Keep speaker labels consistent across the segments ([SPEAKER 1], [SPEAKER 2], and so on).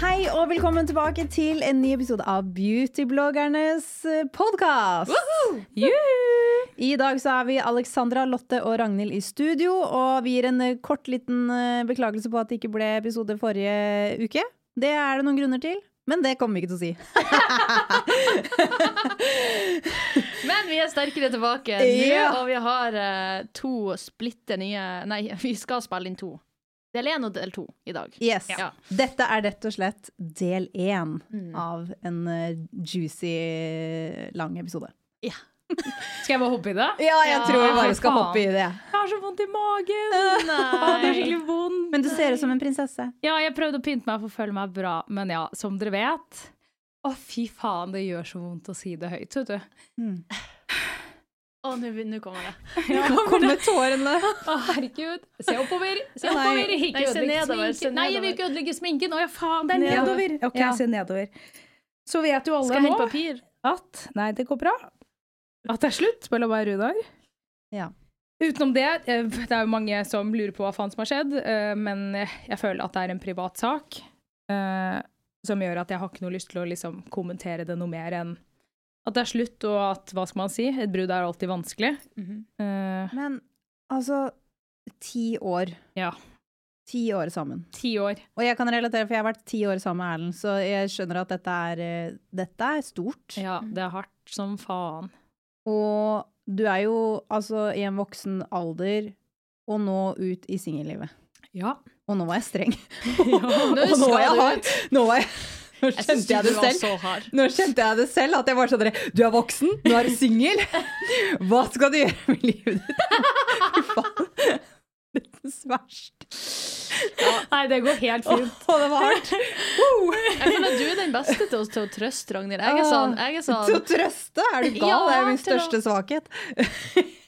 [SPEAKER 1] Hei og velkommen tilbake til en ny episode av Beautybloggernes podkast. I dag så er vi Alexandra, Lotte og Ragnhild i studio, og vi gir en eh, kort liten eh, beklagelse på at det ikke ble episode forrige uke. Det er det noen grunner til, men det kommer vi ikke til å si.
[SPEAKER 2] Men vi er sterkere tilbake
[SPEAKER 1] Ja.
[SPEAKER 2] nå, og vi har eh, to splitter nye Nei, vi skal spille inn to. Del én og del to i dag.
[SPEAKER 1] Yes.
[SPEAKER 2] Ja.
[SPEAKER 1] Dette er rett og slett del én av en eh, juicy, eh, lang episode.
[SPEAKER 2] Ja.
[SPEAKER 3] Skal jeg bare hoppe i det?
[SPEAKER 1] Ja, jeg
[SPEAKER 2] Ja,
[SPEAKER 1] tror vi bare
[SPEAKER 3] for
[SPEAKER 1] skal
[SPEAKER 3] faen.
[SPEAKER 1] hoppe i det.
[SPEAKER 3] Jeg har så vondt i magen! Å, Det er
[SPEAKER 2] Nei.
[SPEAKER 3] skikkelig vondt.
[SPEAKER 1] Men du ser ut som en prinsesse.
[SPEAKER 3] Ja, jeg prøvde å pynte meg for å føle meg bra, men ja, som dere vet Å, fy faen, det gjør så vondt å si det høyt, vet du.
[SPEAKER 1] Mm.
[SPEAKER 2] Å, nå nå kommer det.
[SPEAKER 1] Kommer tårene.
[SPEAKER 3] Å, herregud. Se oppover! Se
[SPEAKER 1] Nei.
[SPEAKER 3] oppover! Ikke
[SPEAKER 2] Nei, se
[SPEAKER 3] ødelegg
[SPEAKER 2] nedover, se
[SPEAKER 3] sminken. Nei, jeg vil ikke ødelegge sminken! Å ja, faen, det er nedover.
[SPEAKER 4] Nedover. Ok,
[SPEAKER 3] Ja.
[SPEAKER 4] se nedover. Så vet jo
[SPEAKER 2] Skal
[SPEAKER 4] alle nå
[SPEAKER 2] jeg hente papir?
[SPEAKER 4] at Nei, det går bra. At det er slutt på Love Runar.
[SPEAKER 1] Ja.
[SPEAKER 4] Utenom det, eh, det er jo mange som lurer på hva faen som har skjedd, eh, men jeg føler at det er en privat sak eh, som gjør at jeg har ikke noe lyst til å liksom kommentere det noe mer enn at det er slutt, og at hva skal man si, et brudd er alltid vanskelig.
[SPEAKER 2] Mhm.
[SPEAKER 4] Eh,
[SPEAKER 1] Men altså Ti år.
[SPEAKER 4] Ja.
[SPEAKER 1] Ti år sammen.
[SPEAKER 4] Ti år.
[SPEAKER 1] Og jeg kan relatere, for jeg har vært ti år sammen med Erlend, så jeg skjønner at dette er, eh, dette er stort.
[SPEAKER 3] Ja, det er hardt som faen.
[SPEAKER 1] Og du er jo altså i en voksen alder, og nå ut i singellivet.
[SPEAKER 3] Ja.
[SPEAKER 1] Og nå var jeg streng.
[SPEAKER 2] Nå
[SPEAKER 1] og nå var jeg
[SPEAKER 2] skal
[SPEAKER 1] hard. Nå, var jeg, nå
[SPEAKER 2] Jeg syns
[SPEAKER 1] kjente jeg
[SPEAKER 2] du
[SPEAKER 1] det
[SPEAKER 2] var
[SPEAKER 1] selv.
[SPEAKER 2] så hard.
[SPEAKER 1] Nå kjente jeg det selv, at jeg var sånn der, Du er voksen, nå er du singel. Hva skal du gjøre med livet ditt? Fy faen. Dette er verst.
[SPEAKER 3] Nei, det går helt
[SPEAKER 1] Å,
[SPEAKER 3] fint.
[SPEAKER 1] det var hardt.
[SPEAKER 2] Jeg føler at du er den beste til å, til å trøste Ragnhild. Jeg er sånn, jeg er
[SPEAKER 1] Til å
[SPEAKER 2] sånn
[SPEAKER 1] trøste? Er du gal?
[SPEAKER 2] Ja,
[SPEAKER 1] det er min
[SPEAKER 2] til å-
[SPEAKER 1] største svakhet.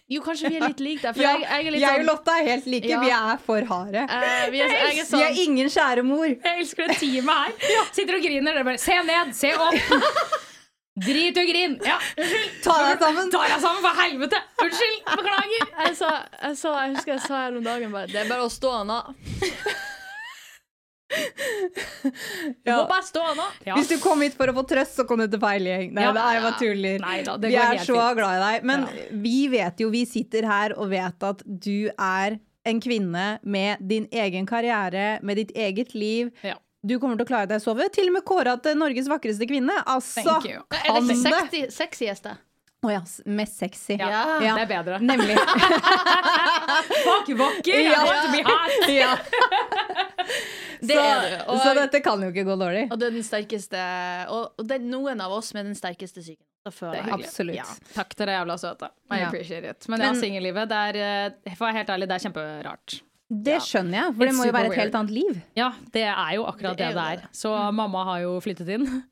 [SPEAKER 2] Jo, kanskje vi er litt like deg, for
[SPEAKER 1] Ja,
[SPEAKER 2] jeg, jeg er litt
[SPEAKER 1] Jeg og
[SPEAKER 2] sånn
[SPEAKER 1] Lotta er helt like.
[SPEAKER 2] Ja.
[SPEAKER 1] Vi er for harde.
[SPEAKER 2] eh, vi er, jeg er
[SPEAKER 1] Vi
[SPEAKER 2] sånn
[SPEAKER 1] er ingen kjære mor.
[SPEAKER 3] Jeg elsker det teamet her. Sitter og griner. Dere bare Se ned! Se opp! Drit og grin! Ja, unnskyld!
[SPEAKER 1] Ta deg sammen.
[SPEAKER 3] Tar deg sammen, for helvete! Unnskyld! Beklager!
[SPEAKER 2] sånn, jeg, sa, jeg, sa, jeg husker jeg sa her om dagen bare Det er bare å stå nå. Du
[SPEAKER 1] Ja.
[SPEAKER 2] må bare stå nå.
[SPEAKER 3] Ja.
[SPEAKER 1] Hvis du kom hit for å få trøst, så kom du til feil gjeng. Nei,
[SPEAKER 3] Ja.
[SPEAKER 1] nei, jeg bare tuller.
[SPEAKER 3] Nei da, det
[SPEAKER 1] Vi
[SPEAKER 3] går
[SPEAKER 1] er
[SPEAKER 3] helt
[SPEAKER 1] så
[SPEAKER 3] fint.
[SPEAKER 1] glad i deg. Men
[SPEAKER 3] Ja.
[SPEAKER 1] vi vet jo, vi sitter her og vet at du er en kvinne med din egen karriere, med ditt eget liv.
[SPEAKER 3] Ja.
[SPEAKER 1] Du kommer til å klare deg, Sove. Til og med kåra til Norges vakreste kvinne. Altså,
[SPEAKER 3] Thank you.
[SPEAKER 2] Er
[SPEAKER 1] kan
[SPEAKER 2] det
[SPEAKER 1] det?
[SPEAKER 2] sexy, sexieste?
[SPEAKER 1] Å ja, s- mest sexy.
[SPEAKER 3] Ja,
[SPEAKER 1] Ja.
[SPEAKER 3] Det er bedre.
[SPEAKER 1] Nemlig.
[SPEAKER 3] Fuck vakker!
[SPEAKER 1] Ja.
[SPEAKER 3] I want to be hot.
[SPEAKER 1] ja.
[SPEAKER 2] Det
[SPEAKER 1] så,
[SPEAKER 2] er det. Og,
[SPEAKER 1] så dette kan jo ikke gå dårlig.
[SPEAKER 2] og det er den sterkeste Og, og det er noen av oss med den sterkeste psyken. Da føler
[SPEAKER 3] Det er
[SPEAKER 2] jeg.
[SPEAKER 3] hyggelig.
[SPEAKER 1] Absolutt.
[SPEAKER 3] Ja. Takk, dere er jævla søte. I
[SPEAKER 1] Ja.
[SPEAKER 3] appreciate it. Men ja,
[SPEAKER 1] Men-
[SPEAKER 3] singellivet, det er eh, For å være helt ærlig, det er kjemperart.
[SPEAKER 1] Det skjønner jeg, for det
[SPEAKER 3] It's
[SPEAKER 1] må jo
[SPEAKER 3] super
[SPEAKER 1] være et helt
[SPEAKER 3] weird.
[SPEAKER 1] annet liv.
[SPEAKER 3] Ja, det er jo akkurat
[SPEAKER 2] Det er
[SPEAKER 3] det
[SPEAKER 2] jo
[SPEAKER 3] det Mm.
[SPEAKER 2] det.
[SPEAKER 3] er. Så mamma har jo flyttet inn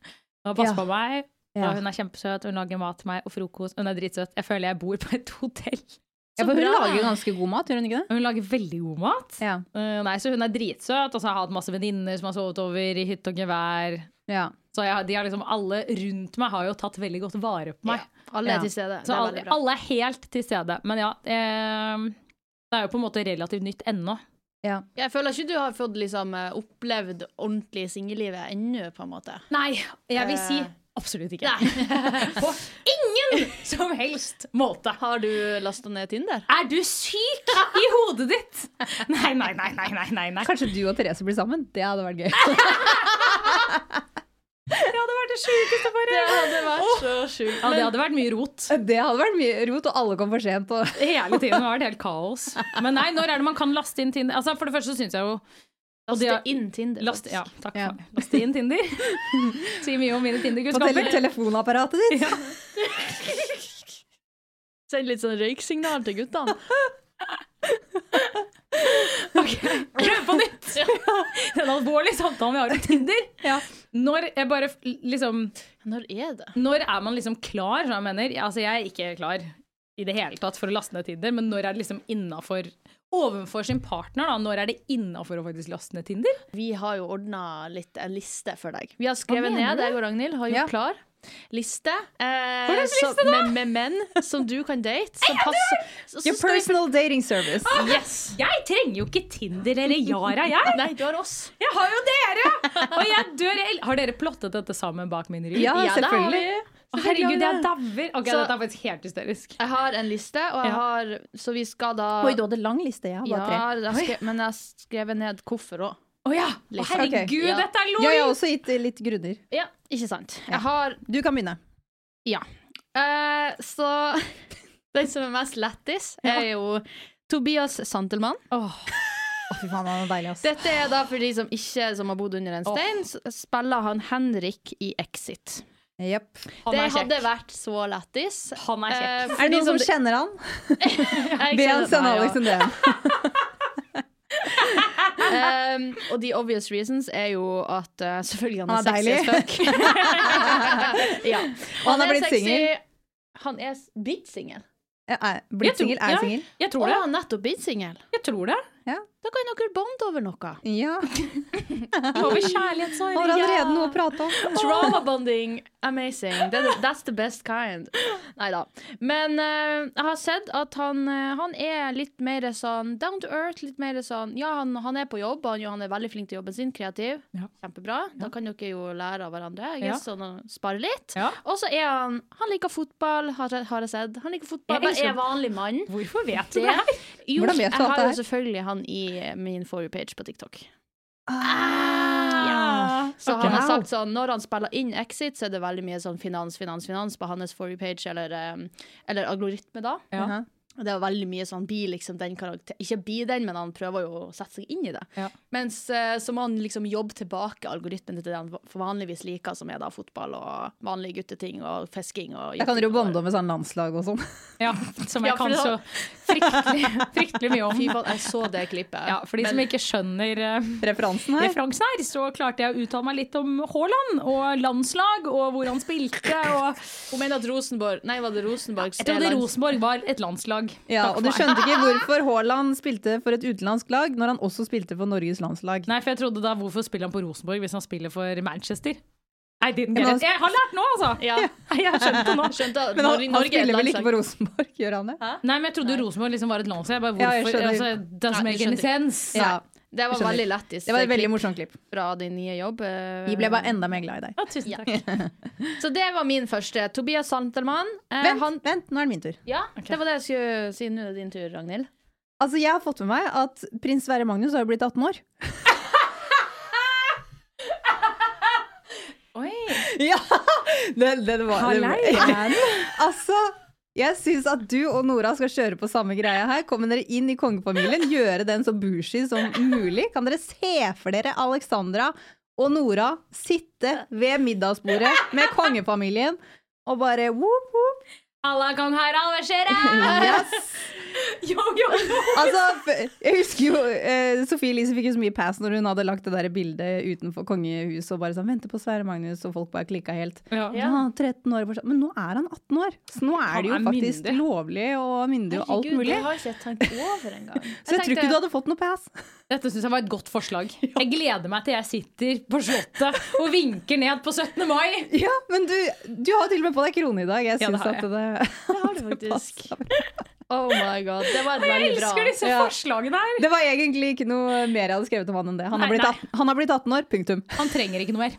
[SPEAKER 3] og passer
[SPEAKER 1] Ja.
[SPEAKER 3] på meg.
[SPEAKER 1] Ja.
[SPEAKER 3] Og hun er kjempesøt, hun lager mat til meg og frokost. Hun er dritsøt. Jeg føler jeg bor på et hotell.
[SPEAKER 1] Ja, for hun
[SPEAKER 2] bra.
[SPEAKER 1] lager jo ganske god mat, gjør hun ikke det?
[SPEAKER 3] Hun lager veldig god mat.
[SPEAKER 1] Ja.
[SPEAKER 3] Eh, nei, så hun er dritsøt, og så har jeg hatt masse venninner som har sovet over i hytte og gevær.
[SPEAKER 1] ja.
[SPEAKER 3] Så jeg, har- de har liksom, alle rundt meg har jo tatt veldig godt vare på meg.
[SPEAKER 2] Ja. Alle
[SPEAKER 1] Ja.
[SPEAKER 2] er til stede.
[SPEAKER 3] Så
[SPEAKER 2] det er
[SPEAKER 3] alle,
[SPEAKER 2] veldig bra.
[SPEAKER 3] alle er helt til stede. Men ja, eh, det er jo på en måte relativt nytt ennå.
[SPEAKER 2] Jeg føler ikke du har fått liksom, eh, opplevd ordentlig singellivet ennå, på en måte.
[SPEAKER 3] Nei, jeg vil si
[SPEAKER 2] Eh.
[SPEAKER 3] absolutt ikke.
[SPEAKER 2] Nei.
[SPEAKER 3] På ingen som helst måte.
[SPEAKER 2] Har du lasta ned Tinder?
[SPEAKER 3] Er du syk i hodet ditt? Nei, nei, nei, nei, nei, nei. nei.
[SPEAKER 1] Kanskje du og Therese blir sammen? Det hadde vært gøy.
[SPEAKER 3] Det hadde vært det sjukeste for
[SPEAKER 2] Det hadde vært så sjukt.
[SPEAKER 3] Ja, det hadde vært mye rot.
[SPEAKER 1] Det hadde vært mye rot, og alle kom for sent. Og...
[SPEAKER 3] Hele tiden har det vært helt kaos. Men nei, når er det man kan laste inn Tinder? Altså, for det første så syns jeg jo Og de
[SPEAKER 2] Laste
[SPEAKER 3] har-
[SPEAKER 2] inn Tinder.
[SPEAKER 3] Last, ja,
[SPEAKER 2] faktisk.
[SPEAKER 3] takk
[SPEAKER 1] Ja.
[SPEAKER 3] for meg. Last inn Tinder. Sier mye om mine
[SPEAKER 1] På tele
[SPEAKER 3] Tinder-kunnskaper.
[SPEAKER 1] telefonapparatet ditt.
[SPEAKER 3] Ja.
[SPEAKER 2] Send litt sånn røyksignal til guttene.
[SPEAKER 3] Prøv på nytt! Det er en alvorlig samtale vi har om Tinder. Når jeg bare f- liksom
[SPEAKER 2] Når er det?
[SPEAKER 3] Når er man liksom klar, som jeg mener? Altså, jeg er ikke klar i det hele tatt for å laste ned Tinder, men når er det liksom innafor Overfor sin partner, da. Når er det innafor å faktisk laste ned Tinder?
[SPEAKER 2] Vi har jo ordna litt en liste for deg. Vi har skrevet ned, jeg og Ragnhild har gjort
[SPEAKER 1] Ja.
[SPEAKER 2] klar. Liste. Eh,
[SPEAKER 3] slags
[SPEAKER 2] som- med, med menn som du kan date. Som passer. Så, så
[SPEAKER 1] Your
[SPEAKER 2] skal vi-
[SPEAKER 1] personal dating service.
[SPEAKER 2] Yes!
[SPEAKER 3] Jeg trenger jo ikke Tinder eller Yara, jeg!
[SPEAKER 2] Nei, du har oss.
[SPEAKER 3] Jeg har jo dere! Og jeg dør i el- Har dere plottet dette sammen bak min rygg?
[SPEAKER 1] Ja,
[SPEAKER 2] Ja, da har
[SPEAKER 1] selvfølgelig.
[SPEAKER 2] vi-
[SPEAKER 3] Å, Herregud, jeg
[SPEAKER 1] da.
[SPEAKER 3] dauer! Ok,
[SPEAKER 2] Så-
[SPEAKER 3] dette er faktisk helt hysterisk.
[SPEAKER 2] Jeg har en liste, og jeg
[SPEAKER 3] Ja.
[SPEAKER 2] har Så vi skal da
[SPEAKER 1] Oi, du hadde lang liste, ja.
[SPEAKER 2] Ja,
[SPEAKER 1] Bare tre.
[SPEAKER 2] jeg har skre- men jeg har skrevet ned hvorfor òg.
[SPEAKER 3] Å ja! Å,
[SPEAKER 2] Liksom. Ok.
[SPEAKER 3] herregud,
[SPEAKER 2] Ja.
[SPEAKER 3] dette er
[SPEAKER 1] Ja, jeg har
[SPEAKER 3] LOL!
[SPEAKER 1] også gitt eh, litt grunner.
[SPEAKER 2] Ja, ikke sant. Jeg har
[SPEAKER 1] Du kan begynne.
[SPEAKER 2] eh, Så Den som er mest lættis, er jo Tobias Santelmann.
[SPEAKER 3] Åh,
[SPEAKER 1] Å, fy faen, han er deilig, ass.
[SPEAKER 2] Dette er da for de som ikke som har bodd under en stein. s- Spiller han Henrik i Exit.
[SPEAKER 1] Jepp.
[SPEAKER 3] han
[SPEAKER 2] det
[SPEAKER 3] er
[SPEAKER 2] hadde
[SPEAKER 3] kjekk.
[SPEAKER 2] vært så lættis. Eh,
[SPEAKER 3] Han er kjekk.
[SPEAKER 1] Er det noen som kjenner han? Be han sende Alex en DM.
[SPEAKER 2] Um, og the obvious reasons er jo at uh, selvfølgelig han
[SPEAKER 1] Han
[SPEAKER 2] er,
[SPEAKER 1] er
[SPEAKER 2] sexy as fuck. ja.
[SPEAKER 1] Og han er blitt
[SPEAKER 2] sexy.
[SPEAKER 1] singel.
[SPEAKER 2] Han er s- blitt singel.
[SPEAKER 1] Ja, er-
[SPEAKER 3] Jeg
[SPEAKER 1] Blitt
[SPEAKER 3] tror-
[SPEAKER 1] singel? Er
[SPEAKER 3] ja.
[SPEAKER 1] singel?
[SPEAKER 3] Jeg
[SPEAKER 2] Å,
[SPEAKER 3] tror det.
[SPEAKER 2] han er nettopp blitt singel.
[SPEAKER 3] Jeg tror det.
[SPEAKER 2] Da kan dere bonde over noe.
[SPEAKER 1] Ja.
[SPEAKER 3] Over kjærlighetssorg.
[SPEAKER 1] Han har
[SPEAKER 3] ja.
[SPEAKER 1] allerede noe å prate om.
[SPEAKER 2] Trauma bonding, amazing. That- That's the best kind. Nei da. Men eh, jeg har sett at han, eh, han er litt mer sånn down to earth. Litt mer sånn Ja, han, han er på jobb, han, han er veldig flink til jobben sin, kreativ.
[SPEAKER 3] Ja.
[SPEAKER 2] Kjempebra. Da kan dere jo lære av hverandre. Jeg
[SPEAKER 3] Ja.
[SPEAKER 2] ja. sånn og spare litt.
[SPEAKER 3] Ja.
[SPEAKER 2] Og så er han Han liker fotball, har, jeg- har jeg sett. Han liker fotball,
[SPEAKER 3] Jeg
[SPEAKER 2] bare
[SPEAKER 3] elsker
[SPEAKER 2] er vanlig mann.
[SPEAKER 3] Hvorfor vet du
[SPEAKER 2] Det,
[SPEAKER 3] det?
[SPEAKER 2] jo,
[SPEAKER 1] Hvordan
[SPEAKER 2] jeg
[SPEAKER 1] vet du alt
[SPEAKER 2] har
[SPEAKER 1] det
[SPEAKER 2] jo
[SPEAKER 1] her?
[SPEAKER 2] selvfølgelig han i min for you-page på TikTok.
[SPEAKER 1] Ah.
[SPEAKER 2] Så
[SPEAKER 3] Ok.
[SPEAKER 2] han har sagt sånn, Når han spiller inn Exit, så er det veldig mye sånn finans, finans, finans på hans for you-page, eller, eh, eller algoritme, da.
[SPEAKER 3] Ja.
[SPEAKER 1] Mhm.
[SPEAKER 2] Og Det er veldig mye sånn bli liksom den karakter Ikke bli den, men han prøver jo å sette seg inn i det.
[SPEAKER 3] Ja.
[SPEAKER 2] Mens eh, så må han liksom jobbe tilbake algoritmen til det han for vanligvis liker, som er da fotball og vanlige gutteting og fisking og
[SPEAKER 1] Da kan dere jo
[SPEAKER 2] jatting og-
[SPEAKER 1] bonde om et sånt landslag og sånn.
[SPEAKER 3] Ja, som jeg
[SPEAKER 2] Ja, for
[SPEAKER 3] kan
[SPEAKER 2] det-
[SPEAKER 3] så fryktelig, fryktelig mye om.
[SPEAKER 2] Fy faen, jeg så det klippet.
[SPEAKER 3] Ja, for de som ikke skjønner eh,
[SPEAKER 1] Referansen her.
[SPEAKER 3] referansen her, så klarte jeg å uttale meg litt om Haaland og landslag og hvor han spilte. Og
[SPEAKER 2] Hun mener at Rosenborg Nei, var det Rosenborg
[SPEAKER 3] jeg trodde Rosenborg var et landslag.
[SPEAKER 1] Ja,
[SPEAKER 3] Takk
[SPEAKER 1] og du
[SPEAKER 3] for meg.
[SPEAKER 1] skjønte ikke hvorfor Haaland spilte for et utenlandsk lag når han også spilte for Norges landslag.
[SPEAKER 3] Nei, for jeg trodde da hvorfor spiller han på Rosenborg hvis han spiller for Manchester? I didn't
[SPEAKER 1] Men
[SPEAKER 3] get
[SPEAKER 1] han-
[SPEAKER 3] it. Jeg har lært nå, altså!
[SPEAKER 2] Ja.
[SPEAKER 3] Jeg har skjønt det nå.
[SPEAKER 2] Skjønte at
[SPEAKER 1] Men han,
[SPEAKER 2] Norge,
[SPEAKER 1] han
[SPEAKER 2] Norge er et
[SPEAKER 1] spiller vel ikke
[SPEAKER 2] landslag.
[SPEAKER 1] for Rosenborg, gjør han det?
[SPEAKER 3] Nei, men jeg trodde Rosenborg liksom var et landslag. Jeg
[SPEAKER 1] Ja,
[SPEAKER 3] bare,
[SPEAKER 1] jeg
[SPEAKER 3] hvorfor?
[SPEAKER 1] skjønner.
[SPEAKER 3] altså, it doesn't
[SPEAKER 2] Nei, du
[SPEAKER 3] make any
[SPEAKER 2] skjønte.
[SPEAKER 3] sense.
[SPEAKER 1] Ja,
[SPEAKER 2] Det var
[SPEAKER 1] skjønner.
[SPEAKER 2] veldig lættis.
[SPEAKER 1] det var et
[SPEAKER 2] klipp
[SPEAKER 1] veldig morsomt klipp.
[SPEAKER 2] fra din nye jobb. eh.
[SPEAKER 1] Vi ble bare enda mer glad i deg.
[SPEAKER 3] Ja, tusen takk.
[SPEAKER 2] Så det var min første. Tobias Santelmann. eh, han-
[SPEAKER 1] Vent, vent, nå er det min tur.
[SPEAKER 2] ja, Det var det jeg skulle si. Nå er det din tur, Ragnhild.
[SPEAKER 1] Altså, Jeg har fått med meg at prins Sverre Magnus har jo blitt 18 år. Ja! Det, det, det var, det var. Altså, jeg syns at du og Nora skal kjøre på samme greia her. Kommer dere inn i kongefamilien, gjøre den så bushy som mulig. Kan dere se for dere Alexandra og Nora sitte ved middagsbordet med kongefamilien og bare whoop, whoop.
[SPEAKER 3] Halla, kong Harald, hva skjer?
[SPEAKER 1] Yes.
[SPEAKER 3] Yo, yo, yo.
[SPEAKER 1] Altså, f- jeg husker jo eh, Sofie Elise fikk jo så mye pass når hun hadde lagt det der bildet utenfor kongehuset og bare sånn vente på Sverre Magnus, og folk bare klikka helt. Ja. 13 år, fortsatt. Men nå er han 18 år, så nå er
[SPEAKER 3] Han
[SPEAKER 1] det jo
[SPEAKER 3] er
[SPEAKER 1] faktisk
[SPEAKER 3] myndig.
[SPEAKER 1] lovlig og myndig og alt
[SPEAKER 2] Herregud,
[SPEAKER 1] mulig.
[SPEAKER 2] det har ikke jeg tenkt over engang.
[SPEAKER 1] Så jeg tror ikke du hadde fått noe pass.
[SPEAKER 3] Dette syns jeg var et godt forslag. Jeg gleder meg til jeg sitter på Slottet og vinker ned på 17. mai.
[SPEAKER 1] Ja, Men du, du har til og med på deg krone i dag. Jeg
[SPEAKER 3] Ja, det
[SPEAKER 1] syns
[SPEAKER 3] har
[SPEAKER 1] at det,
[SPEAKER 2] Det har du faktisk.
[SPEAKER 1] passer bra.
[SPEAKER 2] Oh my god. Det var et
[SPEAKER 3] Jeg
[SPEAKER 2] veldig
[SPEAKER 3] elsker
[SPEAKER 2] bra.
[SPEAKER 3] disse
[SPEAKER 1] Ja.
[SPEAKER 3] forslagene her.
[SPEAKER 1] Det var egentlig ikke noe mer jeg hadde skrevet om han enn det. Han har
[SPEAKER 3] Nei,
[SPEAKER 1] blitt,
[SPEAKER 3] nei.
[SPEAKER 1] 18, han har blitt 18 år, punktum.
[SPEAKER 3] Han trenger ikke noe mer.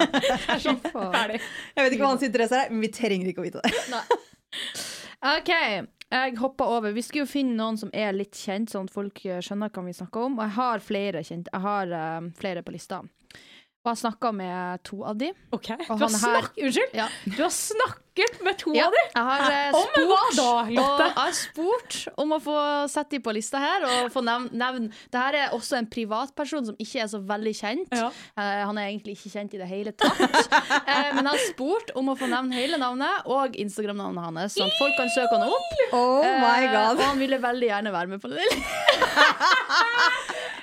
[SPEAKER 3] Jeg er sånn ferdig.
[SPEAKER 1] Jeg vet ikke hva hans interesser er, men vi trenger ikke å vite det.
[SPEAKER 2] OK, jeg hoppa over. Vi skulle jo finne noen som er litt kjent, sånn at folk eh, skjønner hva vi snakker om. Og jeg har flere kjent. Jeg har eh, flere på lista. Og jeg snakka med to av de.
[SPEAKER 3] Ok, Du
[SPEAKER 2] han
[SPEAKER 3] har,
[SPEAKER 2] her-
[SPEAKER 3] snakk, unnskyld,
[SPEAKER 2] Ja.
[SPEAKER 3] du har snakket med to
[SPEAKER 2] Ja,
[SPEAKER 3] av dem!
[SPEAKER 2] jeg har eh,
[SPEAKER 3] Om
[SPEAKER 2] spurt,
[SPEAKER 3] hva da,
[SPEAKER 2] og
[SPEAKER 3] Lotte?
[SPEAKER 2] jeg har spurt om å få sette de på lista her. Og få nevn, nevn. Det her er også en privatperson som ikke er så veldig kjent.
[SPEAKER 3] Ja.
[SPEAKER 2] Eh, han er egentlig ikke kjent i det hele tatt. Eh, men jeg har spurt om å få nevne hele navnet og Instagram-navnet hans, sånn at folk kan søke han opp.
[SPEAKER 1] Oh my
[SPEAKER 2] Eh,
[SPEAKER 1] god.
[SPEAKER 2] og han ville veldig gjerne være med på det.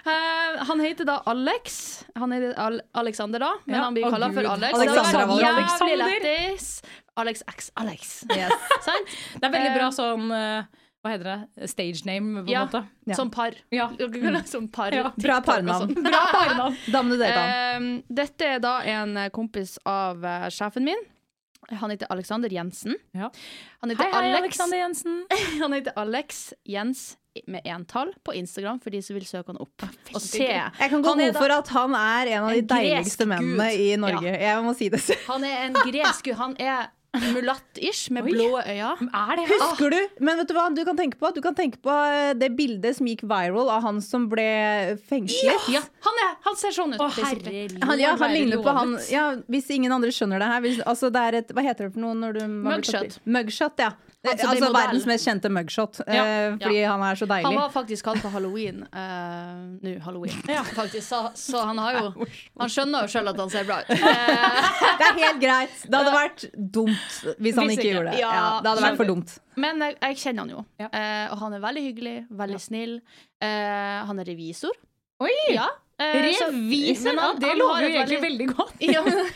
[SPEAKER 2] Eh, han heter da Alex. Han heter Al Alexander, da, men
[SPEAKER 3] Ja,
[SPEAKER 2] han blir
[SPEAKER 3] å
[SPEAKER 2] kalla for
[SPEAKER 3] Gud.
[SPEAKER 2] Alex.
[SPEAKER 1] Alexander
[SPEAKER 2] det var
[SPEAKER 3] Alexander.
[SPEAKER 2] jævlig lættis. Alex X Alex. Sant?
[SPEAKER 3] Det er veldig bra
[SPEAKER 2] Eh,
[SPEAKER 3] sånn eh, Hva heter det? Stage name, på en
[SPEAKER 2] ja,
[SPEAKER 3] måte.
[SPEAKER 1] Ja.
[SPEAKER 2] Som par.
[SPEAKER 3] Ja. Mm.
[SPEAKER 2] Som par.
[SPEAKER 3] Ja.
[SPEAKER 2] TikTok
[SPEAKER 1] Bra
[SPEAKER 2] og
[SPEAKER 1] parnavn.
[SPEAKER 2] sånn.
[SPEAKER 3] Bra parnavn.
[SPEAKER 1] Damene data han.
[SPEAKER 2] Eh, dette er da en eh, kompis av eh, sjefen min. Han heter Alexander Jensen.
[SPEAKER 3] Ja.
[SPEAKER 2] Han heter
[SPEAKER 3] Hei, hei,
[SPEAKER 2] Alex
[SPEAKER 3] Alexander Jensen.
[SPEAKER 2] Han heter Alex Jens med entall på Instagram for de som vil søke han opp og se.
[SPEAKER 3] gøy.
[SPEAKER 1] Jeg kan gå
[SPEAKER 2] Han er
[SPEAKER 1] god for at han er en av de
[SPEAKER 2] en
[SPEAKER 1] deiligste
[SPEAKER 2] gresk
[SPEAKER 1] mennene
[SPEAKER 2] gud.
[SPEAKER 1] i Norge. Jeg må si det selv.
[SPEAKER 2] Han er en gresk gud. Han er mulatt-ish med
[SPEAKER 3] Oi.
[SPEAKER 2] blå øyne.
[SPEAKER 3] Er det
[SPEAKER 2] Ah.
[SPEAKER 3] han?
[SPEAKER 1] Husker du? Men vet du hva du kan tenke på? Du kan tenke på eh, det bildet som gikk viral av han som ble fengslet.
[SPEAKER 2] Ja, han, er, han ser sånn ut.
[SPEAKER 3] Å,
[SPEAKER 2] basically.
[SPEAKER 3] herre
[SPEAKER 1] Han, ja,
[SPEAKER 3] lord,
[SPEAKER 1] han
[SPEAKER 3] være
[SPEAKER 1] ligner på
[SPEAKER 3] lovet.
[SPEAKER 1] han ja, Hvis ingen andre skjønner det her hvis, altså det er et, Hva heter det for noe? Når du, man blir tatt-
[SPEAKER 2] Mugshot.
[SPEAKER 1] Mugshot, ja. Det,
[SPEAKER 2] Altså,
[SPEAKER 1] altså
[SPEAKER 2] bli modell.
[SPEAKER 1] verdens mest kjente mugshot.
[SPEAKER 2] Ja,
[SPEAKER 1] eh, fordi han er så
[SPEAKER 2] Han
[SPEAKER 1] deilig.
[SPEAKER 2] var faktisk han på halloween eh, nå. Halloween, faktisk. Så, så han har jo Han skjønner jo sjøl at han ser bra ut. Eh,
[SPEAKER 1] Det er helt greit. Det hadde vært dumt hvis han
[SPEAKER 3] Hvis
[SPEAKER 1] ikke
[SPEAKER 3] ikke-
[SPEAKER 1] gjorde det.
[SPEAKER 2] ja,
[SPEAKER 1] Ja, det hadde vært for dumt.
[SPEAKER 2] men jeg, jeg kjenner han jo.
[SPEAKER 3] Ja.
[SPEAKER 2] Eh, og han er veldig hyggelig, veldig snill. Eh, han er revisor.
[SPEAKER 3] Oi!
[SPEAKER 2] Ja. eh, så-
[SPEAKER 3] Revisor?
[SPEAKER 2] men
[SPEAKER 3] Ja,
[SPEAKER 2] han-
[SPEAKER 3] det
[SPEAKER 2] han har
[SPEAKER 3] lover jo
[SPEAKER 2] et
[SPEAKER 3] egentlig
[SPEAKER 2] veldig-
[SPEAKER 3] veldig godt.
[SPEAKER 2] Ja, men-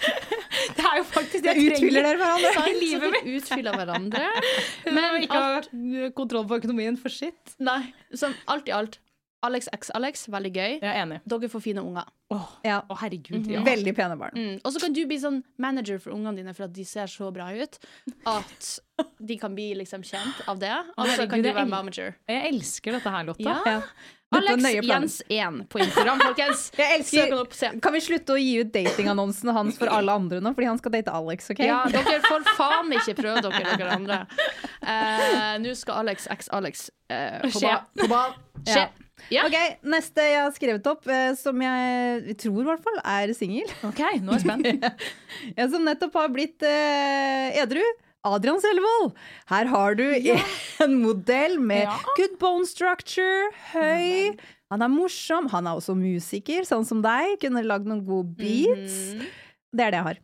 [SPEAKER 3] Det er jo faktisk det
[SPEAKER 1] Jeg
[SPEAKER 3] jeg
[SPEAKER 1] utfyller dere
[SPEAKER 3] trenger.
[SPEAKER 1] hverandre.
[SPEAKER 2] sant,
[SPEAKER 3] livet
[SPEAKER 2] så vi utfyller hverandre.
[SPEAKER 3] Men
[SPEAKER 2] Men
[SPEAKER 3] ikke har kontroll på økonomien for sitt.
[SPEAKER 2] Nei, som alt i alt. Alex x Alex, veldig gøy.
[SPEAKER 3] Jeg er enig.
[SPEAKER 2] Dere får fine unger.
[SPEAKER 3] Åh,
[SPEAKER 1] Ja.
[SPEAKER 3] å, herregud, ja. Mhm.
[SPEAKER 1] Veldig pene barn.
[SPEAKER 2] Mm. Og så kan du bli sånn manager for ungene dine for at de ser så bra ut at de kan bli liksom kjent av det. Og så
[SPEAKER 3] herregud,
[SPEAKER 2] kan du
[SPEAKER 3] det er
[SPEAKER 2] være
[SPEAKER 3] en-
[SPEAKER 2] manager.
[SPEAKER 3] Jeg elsker dette her, Lotta.
[SPEAKER 2] Ja.
[SPEAKER 1] Dette er
[SPEAKER 2] Alex
[SPEAKER 1] nøye planer.
[SPEAKER 2] Jens1 på Instagram, folkens.
[SPEAKER 1] Jeg
[SPEAKER 2] Søk
[SPEAKER 1] elsker
[SPEAKER 2] han opp, se.
[SPEAKER 1] Kan vi slutte å gi ut datingannonsene hans for alle andre nå? Fordi han skal date Alex, OK?
[SPEAKER 2] Ja, dere får faen ikke prøve dere, dere andre. Eh, Nå skal Alex x Alex eh, på
[SPEAKER 3] Skje.
[SPEAKER 2] ba- på ba- Skje. Ja.
[SPEAKER 1] Ok, Neste jeg har skrevet opp, eh, som jeg tror i hvert fall er singel,
[SPEAKER 3] Ok, nå er jeg spent.
[SPEAKER 1] ja, som nettopp har blitt eh, edru. Adrian Selvold. Her har du en modell med
[SPEAKER 3] Ja.
[SPEAKER 1] good bone structure, høy. Han er morsom. Han er også musiker, sånn som deg. Kunne lagd noen gode beats.
[SPEAKER 2] Mhm.
[SPEAKER 1] Det er det jeg har.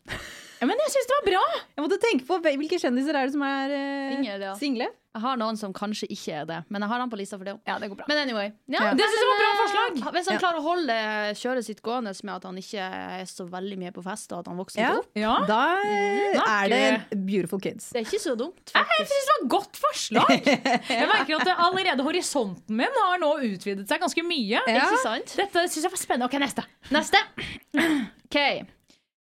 [SPEAKER 3] Ja, men jeg syns det var bra!
[SPEAKER 1] Jeg måtte tenke på hvil- hvilke kjendiser er det som er eh,
[SPEAKER 2] Single, ja.
[SPEAKER 1] single.
[SPEAKER 2] Jeg har noen som kanskje ikke er det, men jeg har han på lista for det.
[SPEAKER 3] Ja, det går bra.
[SPEAKER 2] Men anyway. Ja,
[SPEAKER 3] Det synes jeg var bra forslag.
[SPEAKER 2] eh, Hvis han
[SPEAKER 1] Ja.
[SPEAKER 2] klarer å holde kjøret sitt gående med at han ikke er så veldig med på fest, og at han vokser litt
[SPEAKER 1] Ja.
[SPEAKER 2] opp,
[SPEAKER 3] Ja.
[SPEAKER 1] Da eh,
[SPEAKER 3] snakker
[SPEAKER 1] er det Beautiful Kids.
[SPEAKER 2] Mm, det er ikke så dumt.
[SPEAKER 3] Jeg synes det var et godt forslag! Jeg merker at det allerede horisonten min har nå utvidet seg ganske mye.
[SPEAKER 1] Ja.
[SPEAKER 2] Ikke sant?
[SPEAKER 3] Dette syns jeg var spennende. Ok, neste.
[SPEAKER 2] Neste. OK.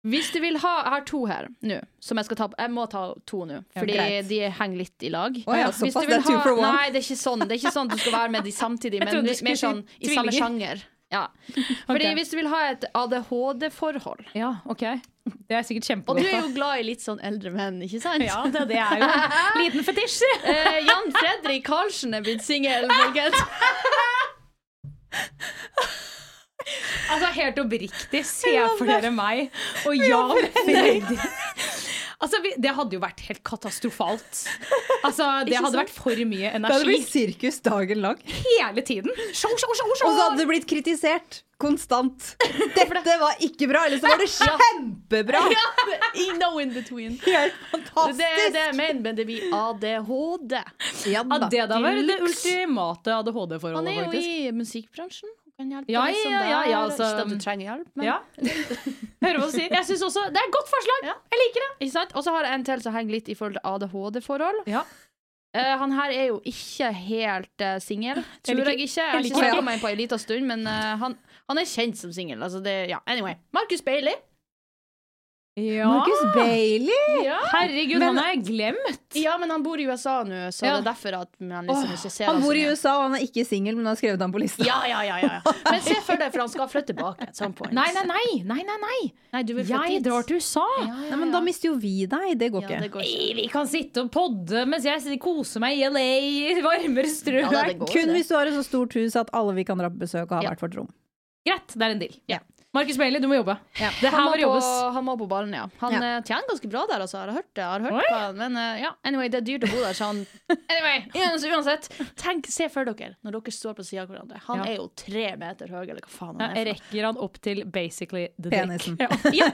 [SPEAKER 2] Hvis du vil ha Jeg har to her nå, som jeg skal ta på. Jeg må ta to nå, fordi
[SPEAKER 1] greit.
[SPEAKER 2] de henger litt i lag.
[SPEAKER 1] Å ja,
[SPEAKER 2] Hvis
[SPEAKER 1] såpass,
[SPEAKER 2] du vil
[SPEAKER 1] det er two
[SPEAKER 2] ha-
[SPEAKER 1] for one.
[SPEAKER 2] Nei, det er ikke sånn. Det er ikke sånn at du skal være med de samtidig, men
[SPEAKER 3] trodde du
[SPEAKER 2] litt mer sånn
[SPEAKER 3] skulle si
[SPEAKER 2] i samme
[SPEAKER 3] tvillinger.
[SPEAKER 2] sjanger. Ja. Fordi
[SPEAKER 3] Ok.
[SPEAKER 2] hvis du vil ha et ADHD-forhold
[SPEAKER 3] Ja, ok. Det er sikkert
[SPEAKER 2] Og du er
[SPEAKER 3] kjempegodt.
[SPEAKER 2] jo glad i litt sånn eldre menn, ikke sant?
[SPEAKER 3] Ja, det, det er jo en liten fetisj.
[SPEAKER 2] Eh, Jan Fredrik Karlsen er blitt singel, folkens.
[SPEAKER 3] Altså helt oppriktig, se for dere meg og Jan Fredrik. Altså, vi, det hadde jo vært helt katastrofalt. Altså, Det
[SPEAKER 2] Ikke
[SPEAKER 3] hadde
[SPEAKER 2] sant?
[SPEAKER 3] vært for
[SPEAKER 1] Da
[SPEAKER 3] mye
[SPEAKER 1] hadde det
[SPEAKER 3] energi
[SPEAKER 1] blitt sirkus dagen lang.
[SPEAKER 3] hele tiden. Show, show, show,
[SPEAKER 1] Og
[SPEAKER 3] show.
[SPEAKER 1] så hadde det blitt kritisert konstant. Dette var ikke bra, eller så var det kjempebra!
[SPEAKER 2] In no in between.
[SPEAKER 1] Helt
[SPEAKER 2] Det er det
[SPEAKER 1] fantastisk!
[SPEAKER 2] jeg mener, men det blir ADHD.
[SPEAKER 1] Ja
[SPEAKER 3] Ja,
[SPEAKER 1] da.
[SPEAKER 3] det da var det
[SPEAKER 2] Deluxe.
[SPEAKER 3] ultimate
[SPEAKER 2] Han
[SPEAKER 3] ADHD-forholdet,
[SPEAKER 2] er jo
[SPEAKER 3] faktisk.
[SPEAKER 2] i musikkbransjen. Han kan hjelpe
[SPEAKER 3] Ja,
[SPEAKER 2] deg som
[SPEAKER 3] ja,
[SPEAKER 2] det
[SPEAKER 3] ja,
[SPEAKER 2] er,
[SPEAKER 3] ja, altså,
[SPEAKER 2] ikke at du trenger hjelp, men
[SPEAKER 3] Ja. Hører hva du sier. Jeg synes også Det er et godt forslag.
[SPEAKER 2] Ja.
[SPEAKER 3] Jeg liker det.
[SPEAKER 2] Ikke sant? Og så har jeg en til som henger litt i forhold til ADHD-forhold.
[SPEAKER 3] Ja.
[SPEAKER 2] Eh, han her er jo ikke helt uh, singel, tror
[SPEAKER 3] liker-
[SPEAKER 2] jeg ikke. Jeg har
[SPEAKER 3] jeg
[SPEAKER 2] ikke
[SPEAKER 1] liker-
[SPEAKER 2] snakka med ham på en liten stund, men eh, han, han er kjent som singel. Altså det- ja. Anyway. Markus Bailey.
[SPEAKER 1] Marcus Bailey!
[SPEAKER 2] Ja.
[SPEAKER 3] Herregud,
[SPEAKER 1] Men-
[SPEAKER 3] han har jeg glemt.
[SPEAKER 2] ja, men han bor i USA nå, så
[SPEAKER 3] Ja.
[SPEAKER 2] det er derfor at man liksom ikke ser
[SPEAKER 1] Han
[SPEAKER 2] så
[SPEAKER 1] bor i
[SPEAKER 2] mye.
[SPEAKER 1] USA, og han er ikke singel, men har skrevet han på lista.
[SPEAKER 2] Ja, ja, ja, ja. ja. Men se for deg, for han skal flytte tilbake. At some point.
[SPEAKER 3] Nei, nei, nei. nei, nei, nei.
[SPEAKER 2] Nei, du vil flytte
[SPEAKER 3] Jeg
[SPEAKER 2] dit.
[SPEAKER 3] drar til USA.
[SPEAKER 1] Nei, men da mister jo vi deg. Det går
[SPEAKER 2] ja, det
[SPEAKER 1] ikke.
[SPEAKER 2] går ikke.
[SPEAKER 3] Nei, Vi kan sitte og podde mens jeg sitter- koser meg i LA i varmere strøk.
[SPEAKER 2] Ja, det går jo
[SPEAKER 1] Kun
[SPEAKER 2] det.
[SPEAKER 1] hvis du har et så stort hus at alle vi kan dra på besøk og ha
[SPEAKER 2] Ja.
[SPEAKER 1] hvert vårt rom.
[SPEAKER 3] Greit, det er en deal.
[SPEAKER 2] Ja.
[SPEAKER 3] Markus Bailey, du må jobbe. Det her
[SPEAKER 2] Han må,
[SPEAKER 3] må
[SPEAKER 2] på,
[SPEAKER 3] jobbes.
[SPEAKER 2] han må på ballen, ja. Han eh, tjener ganske bra der, altså. Jeg har hørt det. Jeg har hørt hva, han- men eh, ja, anyway, det er dyrt å bo der, så han Anyway, uans- uansett. Tenk, Se for dere når dere står på sida av hverandre. Han
[SPEAKER 3] Ja.
[SPEAKER 2] er jo tre meter høy, eller hva faen
[SPEAKER 3] Ja,
[SPEAKER 2] han er.
[SPEAKER 3] rekker han opp til basically the dick.
[SPEAKER 1] Penisen.
[SPEAKER 2] for noe. Ja.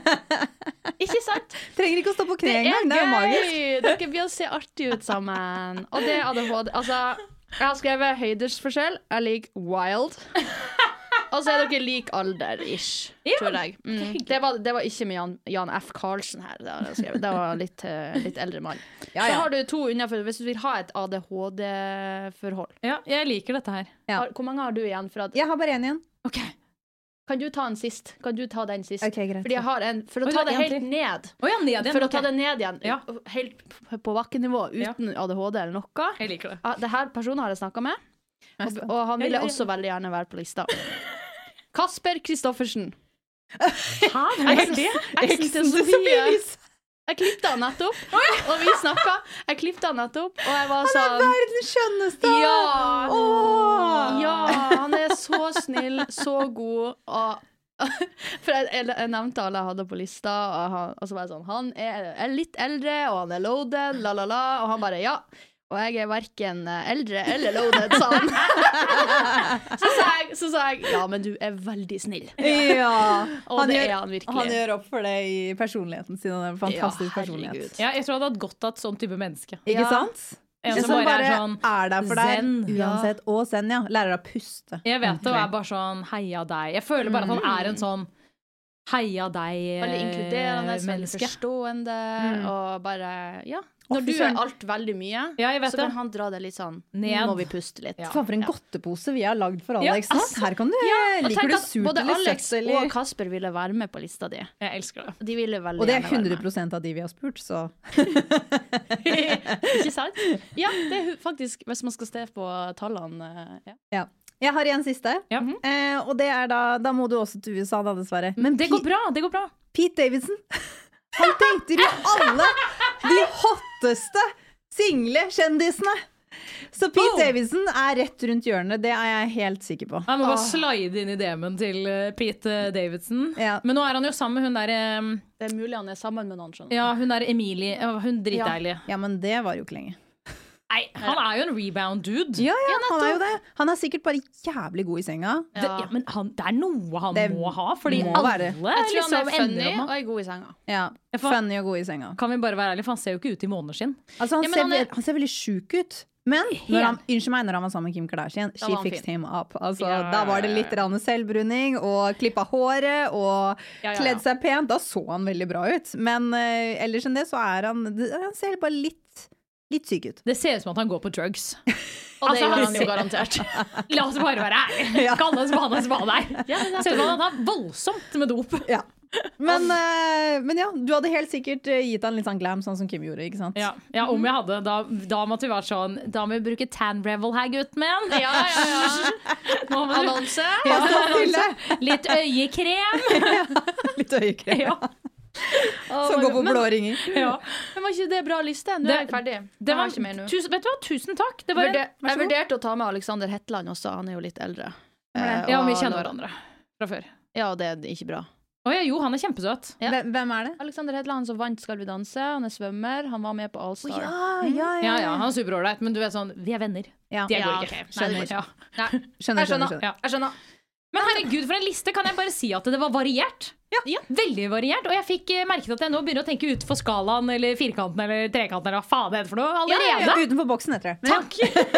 [SPEAKER 2] Ikke sant?
[SPEAKER 1] Trenger ikke å stå på kne
[SPEAKER 2] Det er
[SPEAKER 1] engang. Det er jo magisk.
[SPEAKER 2] gøy! Dere blir å se artig ut sammen. Og det er ADHD. Altså, jeg har skrevet høydesforskjell. Jeg liker wild. Og så er dere lik alder, ish, tror jeg. Mm. Det, var, det var ikke med Jan, Jan F. Karlsen her. Det, har jeg skrevet. det var litt, eh, litt eldre mann. Så har du to innenfor hvis du vil ha et ADHD-forhold.
[SPEAKER 3] Ja, jeg liker dette her.
[SPEAKER 1] Ja.
[SPEAKER 2] Har- Hvor mange har du igjen? For at,
[SPEAKER 1] Jeg har bare én igjen.
[SPEAKER 2] kan du ta en sist? Kan du ta den sist?
[SPEAKER 1] Ok, greit.
[SPEAKER 2] Fordi jeg har en, for
[SPEAKER 3] Oi,
[SPEAKER 2] å ta
[SPEAKER 3] det var
[SPEAKER 2] det
[SPEAKER 3] en
[SPEAKER 2] helt
[SPEAKER 3] til.
[SPEAKER 2] ned.
[SPEAKER 3] Å ja, ned igjen.
[SPEAKER 2] For å
[SPEAKER 3] ok.
[SPEAKER 2] ta det ned igjen,
[SPEAKER 3] Ja.
[SPEAKER 2] helt p- på bakkenivå, uten ADHD eller noe.
[SPEAKER 3] Jeg liker det.
[SPEAKER 2] Ah, Det her personen har jeg snakka med, og, og han ville også veldig gjerne være på lista. Kasper Kristoffersen.
[SPEAKER 3] Hæ,
[SPEAKER 2] Eksen eksen til Sofie. Jeg klippet han nettopp, og vi snakka. Jeg klippet han nettopp, og jeg var sånn
[SPEAKER 1] Verdens skjønneste!
[SPEAKER 2] Ja!
[SPEAKER 1] Åh!
[SPEAKER 2] Ja, han er så snill, så god og for jeg, jeg, jeg nevnte alle jeg hadde på lista, og, han, og så var jeg sånn Han er, er litt eldre, og han er loaded, la, la, la. Og han bare ja. Og jeg er verken eldre eller loaded, sa han. så, sa jeg, så sa jeg ja, men du er veldig snill.
[SPEAKER 1] Ja.
[SPEAKER 2] Og det er han virkelig.
[SPEAKER 1] han gjør opp for det i personligheten sin. Han er en fantastisk personlighet.
[SPEAKER 3] Ja, jeg tror jeg hadde hatt godt av et sånn type menneske.
[SPEAKER 1] Ikke
[SPEAKER 2] Ja.
[SPEAKER 1] sant?
[SPEAKER 3] En
[SPEAKER 1] Som bare er,
[SPEAKER 3] sånn,
[SPEAKER 1] der for deg
[SPEAKER 3] zen.
[SPEAKER 1] uansett. Og zen, ja. Lærer deg å puste.
[SPEAKER 3] Jeg vet det, og er bare sånn heia deg. Jeg føler bare at han er en sånn heia
[SPEAKER 2] Veldig
[SPEAKER 1] eh,
[SPEAKER 2] inkluderende, veldig
[SPEAKER 3] deg-menneske.
[SPEAKER 2] forstående, og bare ja.
[SPEAKER 1] Mm. Å,
[SPEAKER 2] Når
[SPEAKER 1] fy
[SPEAKER 2] du
[SPEAKER 1] søren.
[SPEAKER 2] er alt veldig mye,
[SPEAKER 3] Ja, jeg vet
[SPEAKER 2] så kan
[SPEAKER 3] det.
[SPEAKER 2] han dra det litt sånn
[SPEAKER 3] Ned.
[SPEAKER 2] Nå må vi puste litt.
[SPEAKER 3] Ja.
[SPEAKER 1] Faen, for en godtepose vi har lagd for
[SPEAKER 3] Ja,
[SPEAKER 1] Alex. sant?
[SPEAKER 3] altså.
[SPEAKER 1] Her kan du
[SPEAKER 2] Og tenk
[SPEAKER 1] Liker du
[SPEAKER 2] at
[SPEAKER 1] surt
[SPEAKER 2] både
[SPEAKER 1] eller
[SPEAKER 2] Alex
[SPEAKER 1] søtt eller
[SPEAKER 2] og Kasper ville være med på lista di.
[SPEAKER 3] Jeg elsker det.
[SPEAKER 2] De ville veldig
[SPEAKER 1] Og det er
[SPEAKER 2] gjerne være
[SPEAKER 1] 100 av de vi har spurt, så
[SPEAKER 2] med. Ikke sant? Ja, det er hu- faktisk Hvis man skal se på tallene eh, ja.
[SPEAKER 1] ja. Jeg har en siste,
[SPEAKER 3] Ja.
[SPEAKER 1] eh, og det er da Da må du også til USA, da, dessverre. Men
[SPEAKER 3] Det går bra! det går bra
[SPEAKER 1] Pete Davidson. Han tenkte jo alle de hotteste single kjendisene. Så Pete Davidson er rett rundt hjørnet, det er jeg helt sikker på.
[SPEAKER 3] Jeg må bare
[SPEAKER 2] Ah.
[SPEAKER 3] slide inn i DM-en til eh, Pete eh, Davidson.
[SPEAKER 1] Ja.
[SPEAKER 3] Men nå er han jo sammen med hun der eh,
[SPEAKER 2] Det er mulig han er sammen med noen, skjønner du.
[SPEAKER 3] Ja, hun der Emilie. eh, Hun dritdeilige.
[SPEAKER 1] Ja, men det var jo ikke lenge.
[SPEAKER 3] Nei, han er jo en rebound-dude.
[SPEAKER 1] Ja, ja, han er jo det. Han er sikkert bare jævlig god i senga.
[SPEAKER 3] Det, ja, men han, det er noe han
[SPEAKER 1] Det
[SPEAKER 3] må ha, fordi
[SPEAKER 1] må
[SPEAKER 3] alle
[SPEAKER 1] være.
[SPEAKER 2] Jeg tror han
[SPEAKER 3] liksom
[SPEAKER 2] er funny
[SPEAKER 3] ender
[SPEAKER 2] og
[SPEAKER 3] om han.
[SPEAKER 2] er god i senga.
[SPEAKER 1] Ja,
[SPEAKER 3] får-
[SPEAKER 1] Funny og god i senga.
[SPEAKER 3] Kan vi bare være ærlige, for han ser jo ikke ut i måneskinn.
[SPEAKER 1] Altså, han,
[SPEAKER 2] Ja, men
[SPEAKER 1] ser,
[SPEAKER 2] han er-
[SPEAKER 1] ve- han ser veldig sjuk ut. Men når han, unnskyld meg, når han var sammen med Kim Kardashian, she
[SPEAKER 2] var han
[SPEAKER 1] fixed
[SPEAKER 2] fin.
[SPEAKER 1] him up. Altså,
[SPEAKER 3] Ja, ja,
[SPEAKER 1] Da var det litt rann selvbruning og klippa håret og
[SPEAKER 2] Ja, ja, ja.
[SPEAKER 1] kledd seg pent. Da så han veldig bra ut. Men eh, ellers enn det så er han det- Han ser bare litt, litt syk ut.
[SPEAKER 3] Det ser ut som at han går på drugs.
[SPEAKER 2] Og det
[SPEAKER 3] Altså,
[SPEAKER 2] gjør
[SPEAKER 3] han
[SPEAKER 2] han
[SPEAKER 3] ser-
[SPEAKER 2] jo garantert.
[SPEAKER 3] La oss bare være ærlige. Kalle en spade en spade her. Ser ut som han har voldsomt med dop.
[SPEAKER 1] Ja. Men, eh, men ja, du hadde helt sikkert eh, gitt han litt sånn glam, sånn som Kim gjorde, ikke sant?
[SPEAKER 3] Ja, ja om jeg hadde. Da, da måtte vi vært sånn Da må vi bruke tan revel her, gutten min.
[SPEAKER 2] Ja, ja, ja.
[SPEAKER 3] Nå må du
[SPEAKER 2] Annonse.
[SPEAKER 1] Ja, stille.
[SPEAKER 3] Litt øyekrem.
[SPEAKER 1] Litt øyekrem
[SPEAKER 3] Ja.
[SPEAKER 1] som går på blå ringer.
[SPEAKER 3] ja.
[SPEAKER 2] Men var ikke det bra liste? Nå
[SPEAKER 3] Det-
[SPEAKER 2] er jeg ferdig.
[SPEAKER 3] Det var,
[SPEAKER 2] jeg har ikke mer nå.
[SPEAKER 3] tusen, vet du hva, tusen takk. Det var en-
[SPEAKER 2] Vurder,
[SPEAKER 3] vær så
[SPEAKER 2] jeg
[SPEAKER 3] god.
[SPEAKER 2] vurderte å ta med Alexander Hetland også, han er jo litt eldre. Eh,
[SPEAKER 3] Ja,
[SPEAKER 2] og-
[SPEAKER 3] vi kjenner hverandre fra før.
[SPEAKER 2] Ja, det er ikke bra.
[SPEAKER 3] Å ja, jo, han er kjempesøt.
[SPEAKER 2] Ja.
[SPEAKER 1] Hvem, hvem er det?
[SPEAKER 2] Alexander Hedland som vant Skal vi danse. Han er svømmer. Han var med på Allstar.
[SPEAKER 3] Ja, ja, han er superålreit, men du vet sånn, vi er venner.
[SPEAKER 1] Mm. Ja.
[SPEAKER 3] Det
[SPEAKER 2] Ja,
[SPEAKER 3] går ikke.
[SPEAKER 2] ok. Nei, det går ikke.
[SPEAKER 3] Ja.
[SPEAKER 2] Nei,
[SPEAKER 1] Skjønner,
[SPEAKER 2] jeg
[SPEAKER 1] skjønner,
[SPEAKER 2] skjønner.
[SPEAKER 1] skjønner.
[SPEAKER 3] Ja.
[SPEAKER 2] Jeg skjønner.
[SPEAKER 3] Men herregud, for en liste! Kan jeg bare si at det var variert?
[SPEAKER 2] Ja.
[SPEAKER 3] Veldig variert. Og jeg fikk eh, merket at jeg nå begynner å tenke utenfor skalaen eller firkanten eller trekanten eller hva faen det heter for noe allerede.
[SPEAKER 1] Ja, utenfor boksen, heter det. Men
[SPEAKER 3] Takk!